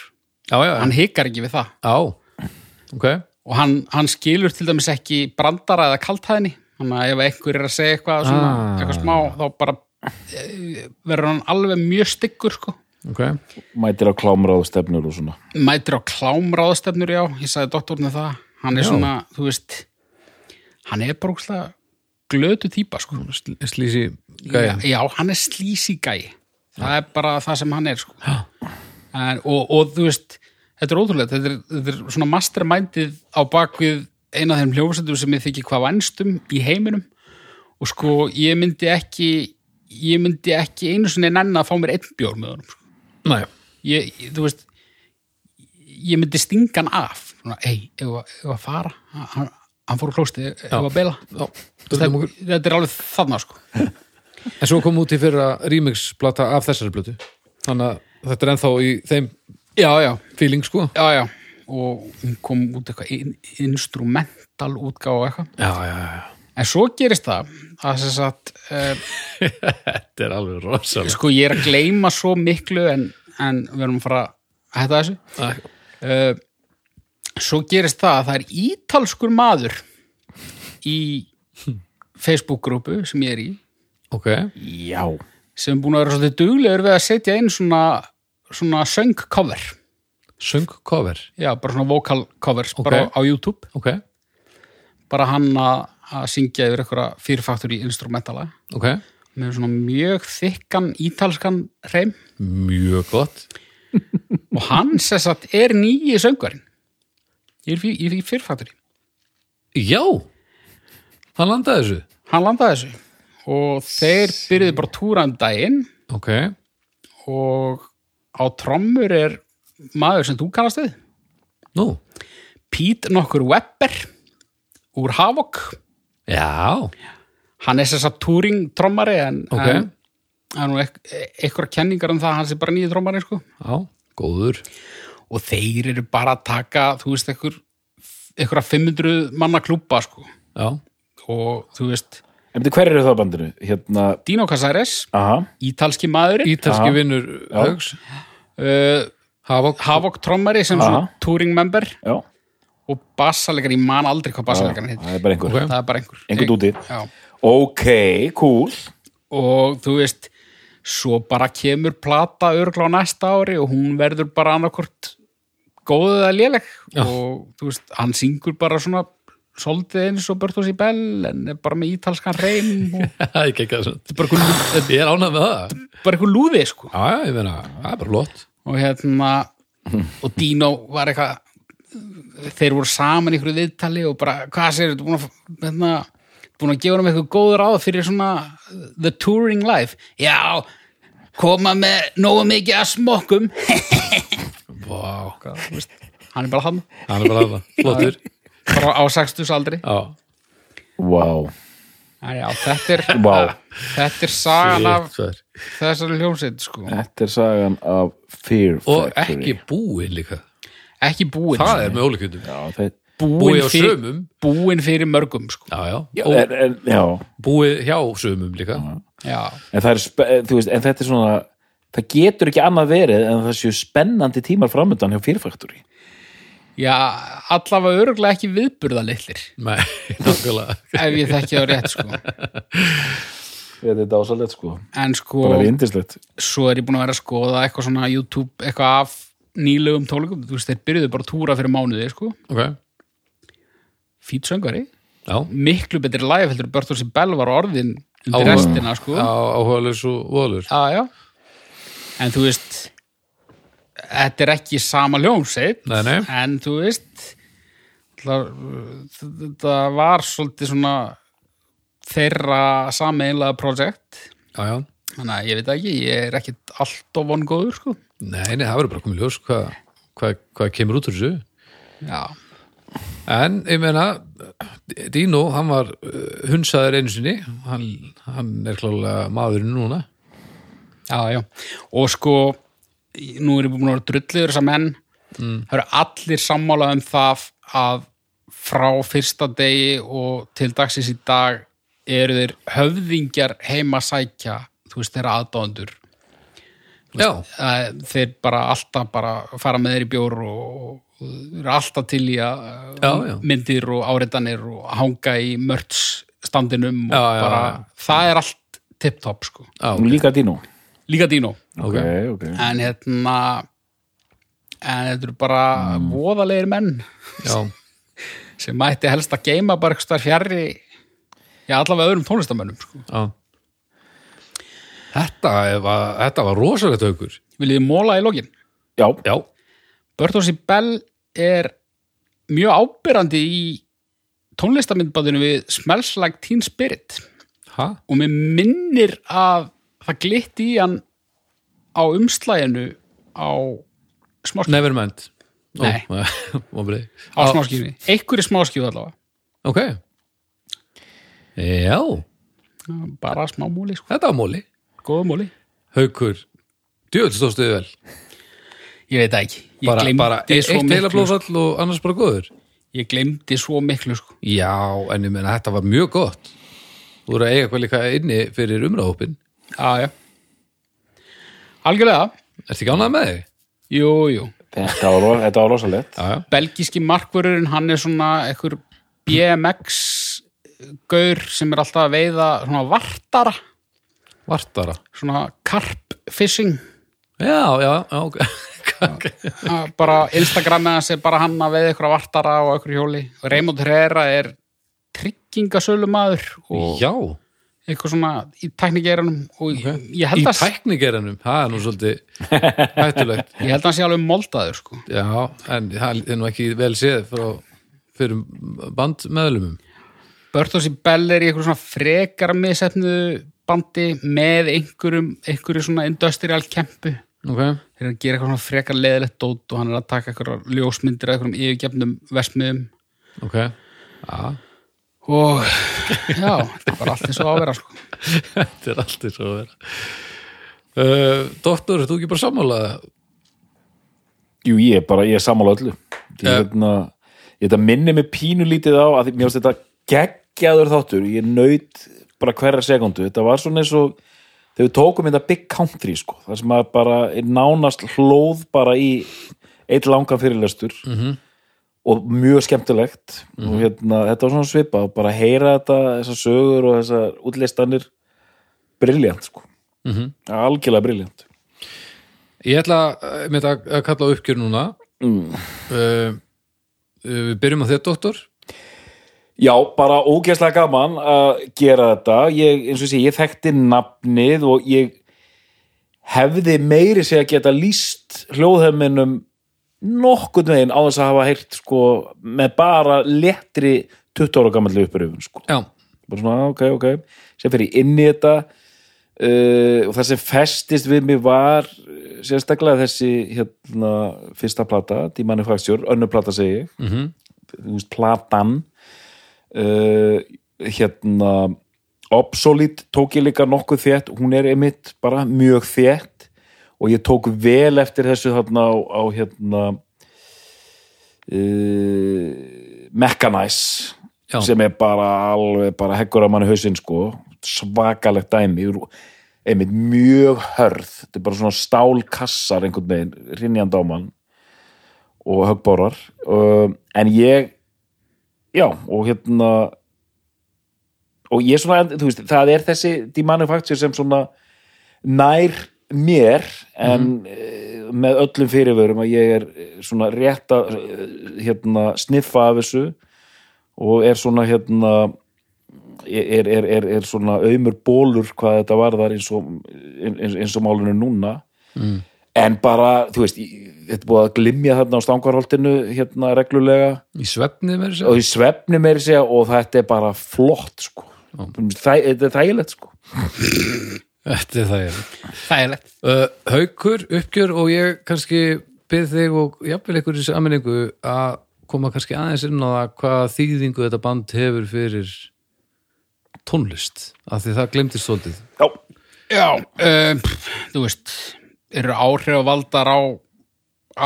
B: Já, já,
D: hann hikar ekki við það
B: já, ok,
D: og hann, hann skilur til dæmis ekki brandara eða kaltæðinni þannig að ef einhver er að segja eitthvað, svona,
B: Ah.
D: eitthvað smá þá bara eh, verður hann alveg mjög styggur sko
B: ok,
C: mætir á klámráðu stefnur og svona
D: mætir á klámráðastefnur já, ég sagði doktorinu það hann er
B: Já.
D: svona, þú veist hann er bara úkslega glötu típa sko.
B: Sl slísi gæja.
D: já, hann er slísi gæi það er bara það sem hann er sko.
B: Já.
D: en, og, og þú veist þetta er ótrúlega, þetta er, þetta er svona mastermindið á bakvið eina af þeim hljófastöndum sem ég þykir hvað vænstum í heiminum og sko, ég myndi ekki ég myndi ekki einu sinni nenn að fá mér einn bjór með honum sko
B: Nei,
D: ég, ég- þú veist ég myndi stinga hann af svona, ei, ef að- ef að fara hann, hann fór úr klósti, ef
B: Já.
D: að beila
B: já,
D: þetta,
B: drögum okkur.
D: þetta er alveg þarna sko
B: En svo kom út í fyrra remixplata af þessari blötu. Þannig að þetta er ennþá í þeim
D: já, já,
B: feeling, sko.
D: já, já og hún kom út eitthvað in, instrumental útgáfa og eitthvað
B: Já, já, já.
D: en svo gerist það að sem sagt uh,
B: Þetta er alveg rosalega.
D: sko ég er að gleyma svo miklu en, en við erum að fara að hætta þessu uh, svo gerist það að það er ítalskur maður í Facebook-grúpu sem ég er í
B: Ok,
C: já,
D: sem er búin að vera svolítið duglegur við að setja inn svona, svona söngcover
B: söng cover.
D: já, bara svona vocal covers bara á YouTube,
B: Ok,
D: bara hann að að syngja yfir einhverja fyrirfaktur í instrumentala
B: ok.
D: með svona mjög þykkan ítalskan reym
B: Mjög gott.
D: og hann sess að er nýji söngvarinn í, í, í, í fyrirfaktur
B: Já, hann landaði þessu.
D: hann landaði þessu og þeir byrjuðu bara túra um daginn
B: Ok,
D: og á trommur er maður sem þú kannast við
B: nú.
D: Pete nokkur Webber úr Havok
B: Já,
D: hann er þess að túring trommari en,
B: Ok.
D: en, en eitthvað kenningar um það að hann sé bara nýju trommari sko.
B: já, góður.
D: og þeir eru bara að taka þú veist einhver einhverja 500 manna klúpa sko.
B: Já,
D: og þú veist
C: en betur hver eru það á bandinu? hérna,
D: Dino Casares,
C: aha,
D: ítalski maðurinn
B: ítalski
C: Já.
B: vinnur
C: Já.
B: Haugs. [LAUGHS]
D: uh,
B: Havok.
D: Havok trommari sem svona
C: Aha.
D: touring member
C: já,
D: og bassalegari, ég man aldrei hvað
C: já
D: bassalegari heitir
C: það er bara einhver
B: Ok.
D: það er bara einhver
C: einhver dúti,
D: Já.
C: ok, cool
D: og þú veist svo bara kemur plata örgla á næsta ári og hún verður bara annarkvort góðið eða léleg og þú veist, hann syngur bara svona soldið eins og Bertus í Bell en er bara með ítalskan reym og
B: Það er ekki ekki það svona.
D: þetta er bara eitthvað lú- þetta
B: Ég er ánægð með það.
D: er bara eitthvað lúði sko
B: Já, já, ég meina, það er bara flott.
D: og
B: [LAUGHS]
D: hérna og Dino var eitthvað þeir voru saman í einhverju viðtali og bara, hvað segir þetta búin að hérna, búin að gefa hann eitthvað góð ráð fyrir svona uh, the touring life já, koma með nógu mikið að smokkum [LAUGHS]
B: Vá, hvað, þú veist.
D: hann er bara hann,
B: Hann er bara [LAUGHS] að það. Flottur.
D: bara á 60 aldri
B: Já,
C: wow,
D: já, þetta er
B: Ah.
C: Vá.
D: þetta er sagan af
B: Shit, maður.
D: þessari hljómsveit sko.
C: þetta er sagan af Fear
B: og
C: Factory
B: ekki búin líka
D: ekki búin sko.
B: það er með ólíkjöndum
C: já, þetta
B: búið á
D: fyrir,
B: sömum
D: búin fyrir mörgum sko.
B: já, já.
C: Já,
B: og
C: en, en, já,
B: búið hjá sömum líka
D: já,
C: en það er spe- eh, þú veist, en þetta er svona það getur ekki annað verið en það séu spennandi tímar framöndan hjá fyrirfaktori
D: já allavega örgulega ekki viðburða litlir
B: Nei, [LAUGHS] nákvæmlega
D: ef ég þekki það rétt sko.
C: þetta er dásalett sko,
D: en sko,
C: bara vindislegt
D: svo er ég búin að vera að skoða eitthvað svona YouTube, eitthvað af nýlegum tólikum, þú veist, þeir byrjuðu bara að túra fyrir mánuði, sko,
B: ok,
D: fýt söngari
B: já,
D: miklu betri live heldur en Bertolsi Bell var orðin
B: Á-
D: undir restina, sko
B: já áhugaðlis og voðalis
D: já, já en þú veist þetta er ekki sama ljómsveit
B: Nei, nei.
D: en þú veist það, þetta var svolítið svona þeirra sameinlega projekt
B: já, já,
D: þannig að ég veit ekki, ég er ekkit allt of vongóður sko
B: nei, nei, það verður bara komið ljós hvað hva, hva kemur út úr þessu
D: já,
B: en ég meina Dino, hann var uh, hunsaður einu sinni hann, hann er klálega maðurinn núna
D: já, já og sko, nú er ég búin að vera drulliður þessar menn
B: Mm.
D: það eru allir sammála um það að frá fyrsta degi og til dagsins í dag eru þeir höfðingjar heima sækja, þú veist þeirra aðdóðendur
B: Já,
D: Það er- þeir bara alltaf bara fara með þeir í bjór og, og eru alltaf til í að um,
B: Já, já.
D: myndir og áreitanir og hanga í mörts standinum og
B: Já, já,
D: bara,
B: já.
D: það er allt tipptopp sko.
B: já,
C: Nú líka Dino
D: Líka Dino
B: ok.
C: ok
D: en hérna en þetta eru bara voðalegir menn
B: Já,
D: sem mætti helst að geima bara eitthvað fjarri já, allavega öðrum tónlistamönnum sko.
B: já. Þetta var, þetta var rosalegt haukur.
D: Viljið þið móla í lokin?
C: Já,
B: Já,
D: Bertósi Bell er mjög ábyrrandi í tónlistamindbandinu við Smells Like Teen Spirit
B: ha?
D: og mér minnir að það glitti í hann á umslæginu á smáskífi,
B: Nevermind. [LAUGHS] Ó,
D: Nei.
B: vonbrigði.
D: á smáskífi. einhverju smáskífi allavega
B: Ok. Já,
D: bara smá múli, sko.
B: þetta var móli.
D: góða múli
B: Haukur, djöld stóðstu þig vel.
D: ég veit það ekki, ég
B: Bara,
D: gleymdi
B: bara eitt
D: svo
B: heila
D: miklu sko.
B: blóðfall og annars bara góður.
D: ég gleymdi svo miklu sko.
B: Já, en ég meina þetta var mjög gott. Þú eru að eiga hvað líka inni fyrir umræðhópin.
D: já, já algjörlega,
B: Ertu ekki ánægð með þig?
D: jú, jú
C: þetta var, ro- þetta var rosalegt
B: Já, já.
D: belgíski markvörurinn, hann er svona einhver BMX gaur sem er alltaf að veiða svona vartara,
B: Vartara.
D: svona carp fishing,
B: Já, já, já, ok. [LAUGHS] Já,
D: Að bara Instagramið hans er bara hann að veiða einhverja vartara og einhverju hjóli, Raymond Herrera er tryggingasölumadur og
B: já.
D: eitthvað svona í teknikeiranum og ég,
B: í
D: held að,
B: tæknigeranum. Það er nú svolítið [LAUGHS] hættulegt.
D: ég held að hann sé alveg moldaður sko.
B: Já, en það er nú ekki vel séð frá fyrir bandmeðlumum.
D: Börthos í Bell er í eitthvað svona frekar miðsefnu bandi með einhverjum, einhverju svona industrial kempu
B: Ok,
D: þeir eru að gera eitthvað svona frekar leðilegt dót og hann er að taka eitthvað ljósmyndir af eitthvað yfirgefnum versmiðum
B: ok. Já,
D: og já, þetta er bara allt eins og á að vera sko.
B: [LAUGHS] þetta er allt eins og að vera. Uh, doktor, ert þú ekki bara sammálað?
C: Jú, ég er bara, ég er sammála öllu Ég,
B: Já.
C: hérna, ég þetta minni mig pínulítið á að því- mér finnst þetta geggjaður þáttur ég naut bara hverja sekundu þetta var svona eins og þegar við tókum þetta Big Country sko, það sem að bara er nánast hlóð bara í eitt langan fyrirlestur -hmm. og mjög skemmtilegt og hérna, þetta var svona svipa og bara heyra þetta, þessar sögur og þessar útlistanir briljant sko, mm -hmm. algjörlega briljant
B: Ég ætla eh, einmitt að, að kalla á uppgjör núna mm. Við byrjum á þér, doktor
C: Já, bara ógeðslega gaman að gera þetta. Ég, eins og sé, ég þekkti nafnið og ég hefði meiri sig að geta líst hljóðheiminum nokkurn veginn á þess að hafa heyrt sko, með bara léttri 20 ára gamalli uppröfun sko
B: Já,
C: bara svona, ok, ok sem fyrir inn í þetta uh, og það sem festist við mig var uh, sérstaklega þessi hérna, fyrsta plata, The Manufacture önnur plata segi mm -hmm. þú veist, platan uh, hérna Obsolete tók ég líka nokkuð þétt hún er einmitt bara mjög þétt og ég tók vel eftir þessu þarna á, á hérna uh, Mechanize
B: Já.
C: sem er bara alveg bara heggur að manni hausinn sko svakalegt dæmi úr- einmitt mjög hörð þetta er bara svona stálkassar einhvern veginn rinjandi á mann og höggbórar um, en ég já og hérna og ég svona þú veist það er þessi The Manufacture sem svona nær mér en mm. með öllum fyrirvörum að ég er eh, svona rétt að eh, hérna sniffa af þessu og er svona hérna er, er, er, er svona auðmur bólur hvað þetta varðar eins og, eins, eins og málinu núna mm. en bara, þú veist í- þetta er búið að glimja þarna á stangarholtinu hérna reglulega
B: í svefnið mér sér
C: og í svefni meiri segja og þetta er bara flott sko Þæ, þetta er þægilegt sko
B: Þetta er það ég
D: það er lett
B: uh, Haukur, uppgjör og ég kannski byrð þig og jafnvel ykkur í saminningu að koma kannski aðeins inn á það hvað þýðingu þetta band hefur fyrir tónlist af því það glemtist svolítið
C: Já,
D: Já, um, þú veist eru áhrifavaldar á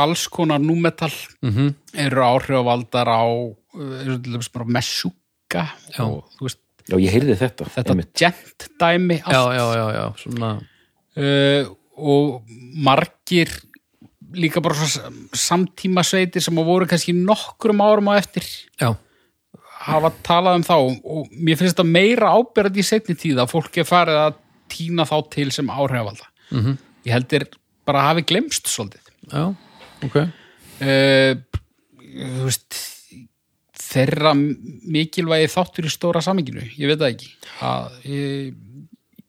D: alls konar númetal mm -hmm. eru áhrifavaldar á uh, eru til dæmis bara messuka og þú veist,
C: já ég heyrði þetta,
D: þetta
C: einmitt.
D: gent dæmi allt
B: Já, já, já, já, svona
D: uh, og margir líka bara svo samtíma sveitir sem að voru kannski nokkrum árum á eftir
B: já,
D: hafa talað um þá og mér finnst þetta meira ábyrðið í setni tíð að fólk er farið að týna þá til sem áhrifalda mm -hmm. ég heldur bara að hafi glemst svolítið
B: já, ok
D: uh, þú veist þeirra mikilvægi þáttur í stóra saminginu, ég veit það ekki að, ég,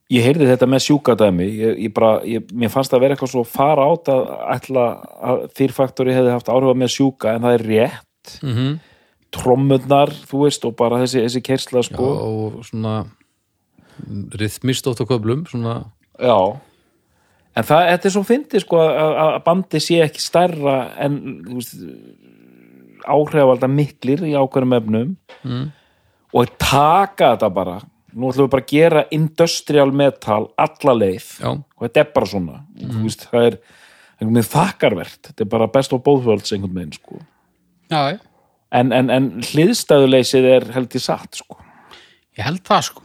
C: ég heyrði þetta með sjúkadæmi ég, ég bara, ég, mér fannst það að vera eitthvað svo fara átt að ætla að þýrfaktori hefði haft áhrifa með sjúka en það er rétt mm -hmm. trommurnar, þú veist, og bara þessi, þessi kersla sko,
B: og, og svona rithmist ótt á köflum svona,
C: já, en það, þetta er svo fyndið sko að, að bandi sé ekki stærra en þú veist, áhrifalda miklir í ákveðnum efnum og taka þetta bara nú ætlum við bara að gera industrial metal alla leið
B: Já.
C: og þetta er bara svona mm. veist, það er einhvern veginn þakkarvert þetta er bara best of both worlds einhvern veginn sko.
D: já, já.
C: en, en, en hliðstæðuleysið er held í satt sko.
D: Ég held það sko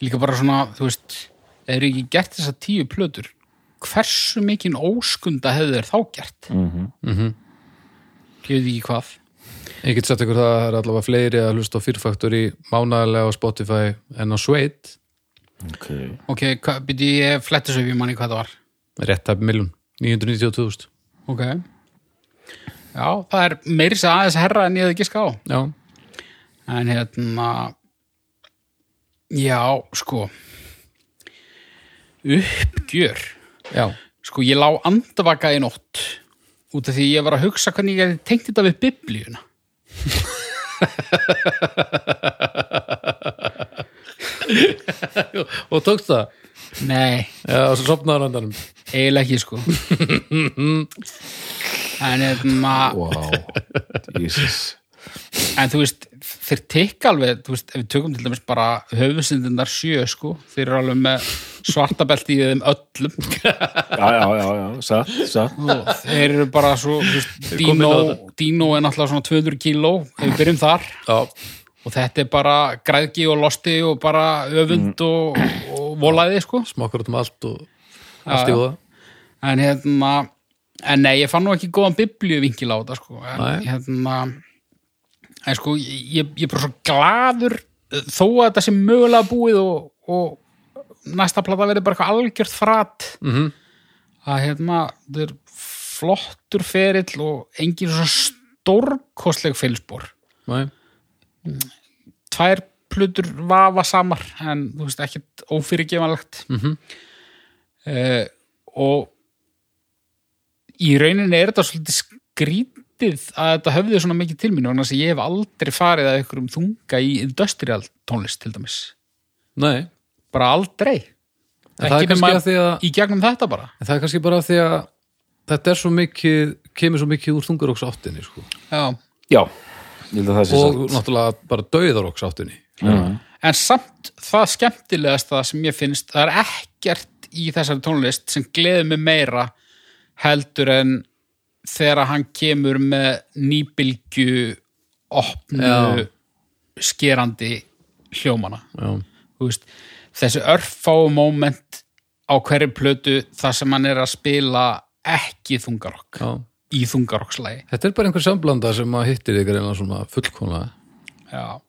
D: Líka bara svona, þú veist eða ekki gert þessar tíu plötur hversu mikinn óskunda hefðu þér þá gert mm -hmm. Ég veit ekki hvað
B: ég get sett ykkur það að það er allavega fleiri að hlusta á fyrfaktur í mánæðarlega á Spotify en á Sveit,
C: okay.
D: Ok, hva, byrju ég flettis upp í manni hvað það var
B: rétt af miljón 992.000,
D: Ok Já, það er meiri sér aðeins herra en ég hefði giska á
B: já
D: En hérna Já, sko Uppgjör
B: já,
D: Sko, ég lá andvaka í nótt út af því ég var að hugsa hvernig ég hefði tengt þetta við biblíuna.
B: og tókst það
D: Nei,
B: já, og svo sopnaður andanum
D: eiginlega ekki, sko. en, hérna,
C: wow, [LAUGHS] Jesus
D: en þú veist, þeir tekka alveg, þú veist, ef við tökum til dæmis bara höfusindindar sjö, sko, þeir eru alveg með svartabelti í þeim öllum.
C: já, já, já, já, satt, satt
D: Og þeir eru bara svo, þú veist, Dino, Dino er náttúrulega svona 200 kíló, ef við byrjum þar.
B: já,
D: Og þetta er bara græðgi og losti og bara öfund og, og volaði, sko.
B: smokkar út um allt og allt í voða
D: en hérna en nei, ég fann nú ekki góðan biblíu á þetta sko, en
B: Nei.
D: hérna en sko, ég, ég er bara svo gladur eh, þó að þetta sem mögulega búið og, og næsta plata verið bara eitthvað algjört frat -hmm. að hérna þetta er flottur ferill og engin svo stórkostleg fylsbor
B: Nei.
D: tvær plutur vafa samar en þú veist ekkert ófyrirgefanlegt mm -hmm.
B: Mhm.
D: og í rauninni er þetta svolítið skrítið að þetta höfði svona mikið til mínu annars að ég hef aldrei farið að ykkur um þunga í industrial tónlist til dæmis
B: Nei.
D: bara aldrei
B: En það er kannski
D: nema
B: að því að-
D: í gegnum þetta bara
B: En það er kannski bara af því að þetta er svo mikið, kemur svo mikið úr þungaróks áttinni sko.
D: Já.
C: já, ég held að það sé
B: og
C: satt
B: náttúrulega bara dauðaróks áttinni
D: en samt það skemmtilegasta sem ég finnst það er ekkert í þessari tónlist sem gleður mig meira heldur en þegar hann kemur með nýbylgju opnu
B: Já.
D: skerandi hljómana
B: Já,
D: Þú veist, þessi örfáu moment á hverju plötu þar sem hann er að spila ekki þungarokk
B: já.
D: í þungarokkslægi
B: Þetta er bara einhver samblanda sem að hittir ykkur einlega svona fullkona
D: já,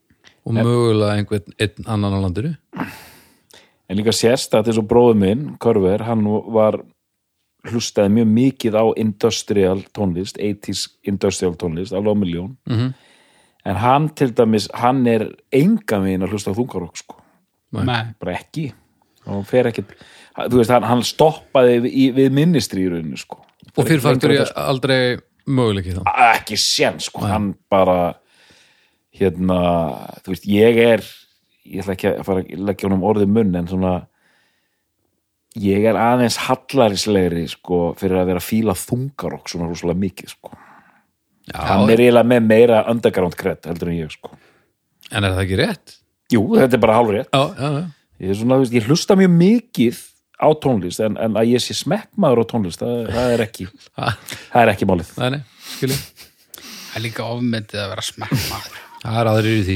B: og mögulega einhvern einn annan á landinu
C: En líka sérst að þessu bróðu minn, Körver, hann var hlustaði mjög mikið á industrial tónlist, 80s industrial tónlist, alveg á miljón.
B: Mhm.
C: En hann til dæmis, hann er engan veginn að hlusta á þungarokk, sko.
B: Nei.
D: með
C: Bara ekki. Og hann fer ekkit, þú veist, hann, hann stoppaði við, í- við minnistri í rauninu, sko.
B: og fyrir faktur ég aldrei möguleiki þá
C: Ekki sén, sko. Hann bara, hérna, þú veist, ég er, ég ætla ekki að fara að leggja honum orðið munn, en svona, ég er aðeins hallarislegri sko, fyrir að vera að fíla þungarokk svona rússalega mikið sko. hann er eiginlega með meira underground kredd heldur en ég sko.
B: En er það ekki rétt?
C: jú, þetta er bara hálfrétt
B: Já, já, já,
C: ég, er svona, þú veist, ég hlusta mjög mikið á tónlist en, en að ég sé smekkmaður á tónlist það, það er ekki
B: Ha,
C: það er ekki málið
B: nei, nei, skilji
D: það er líka ofmyndið að vera smekkmaður
B: Það er aðrir í því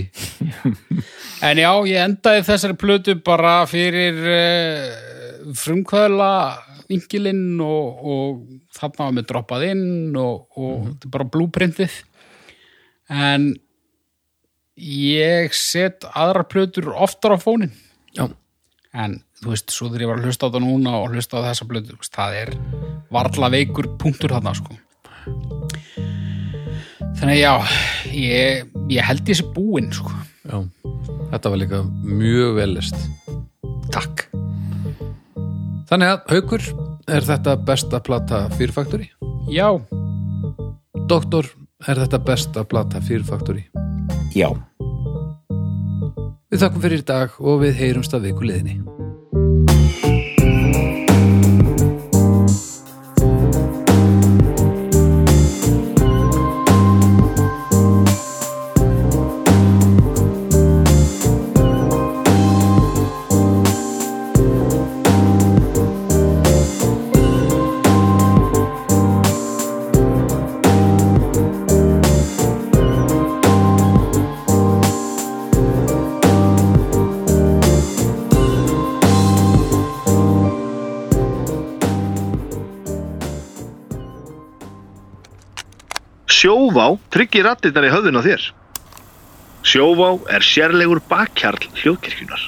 D: en já, ég endaði þessari plötu bara fyrir uh, frumkvæðla vingilinn og, og þarna var með droppað inn og, og þetta er bara blúprintið en ég set aðrar plötur oftar á fónin
B: Já,
D: en þú veist, svo þegar ég var að hlusta á þetta núna og hlusta á þessa blötu, þú veist, það er varla veikur punktur þarna sko. þannig að já ég, ég held ég sé búinn sko.
B: já. Þetta var líka mjög vel list.
D: takk
B: Þannig að, haukur, er þetta besta plata fyrir Factory?
D: já,
B: Doktor, er þetta besta plata fyrir Factory?
C: Já.
B: Við þakkum fyrir í dag og við heyrumst að viku liðinni.
A: Sjóvá tryggir rattirnar í höfðun á þér. Sjóvá er sérlegur bakkjarl hljóðkirkjunar.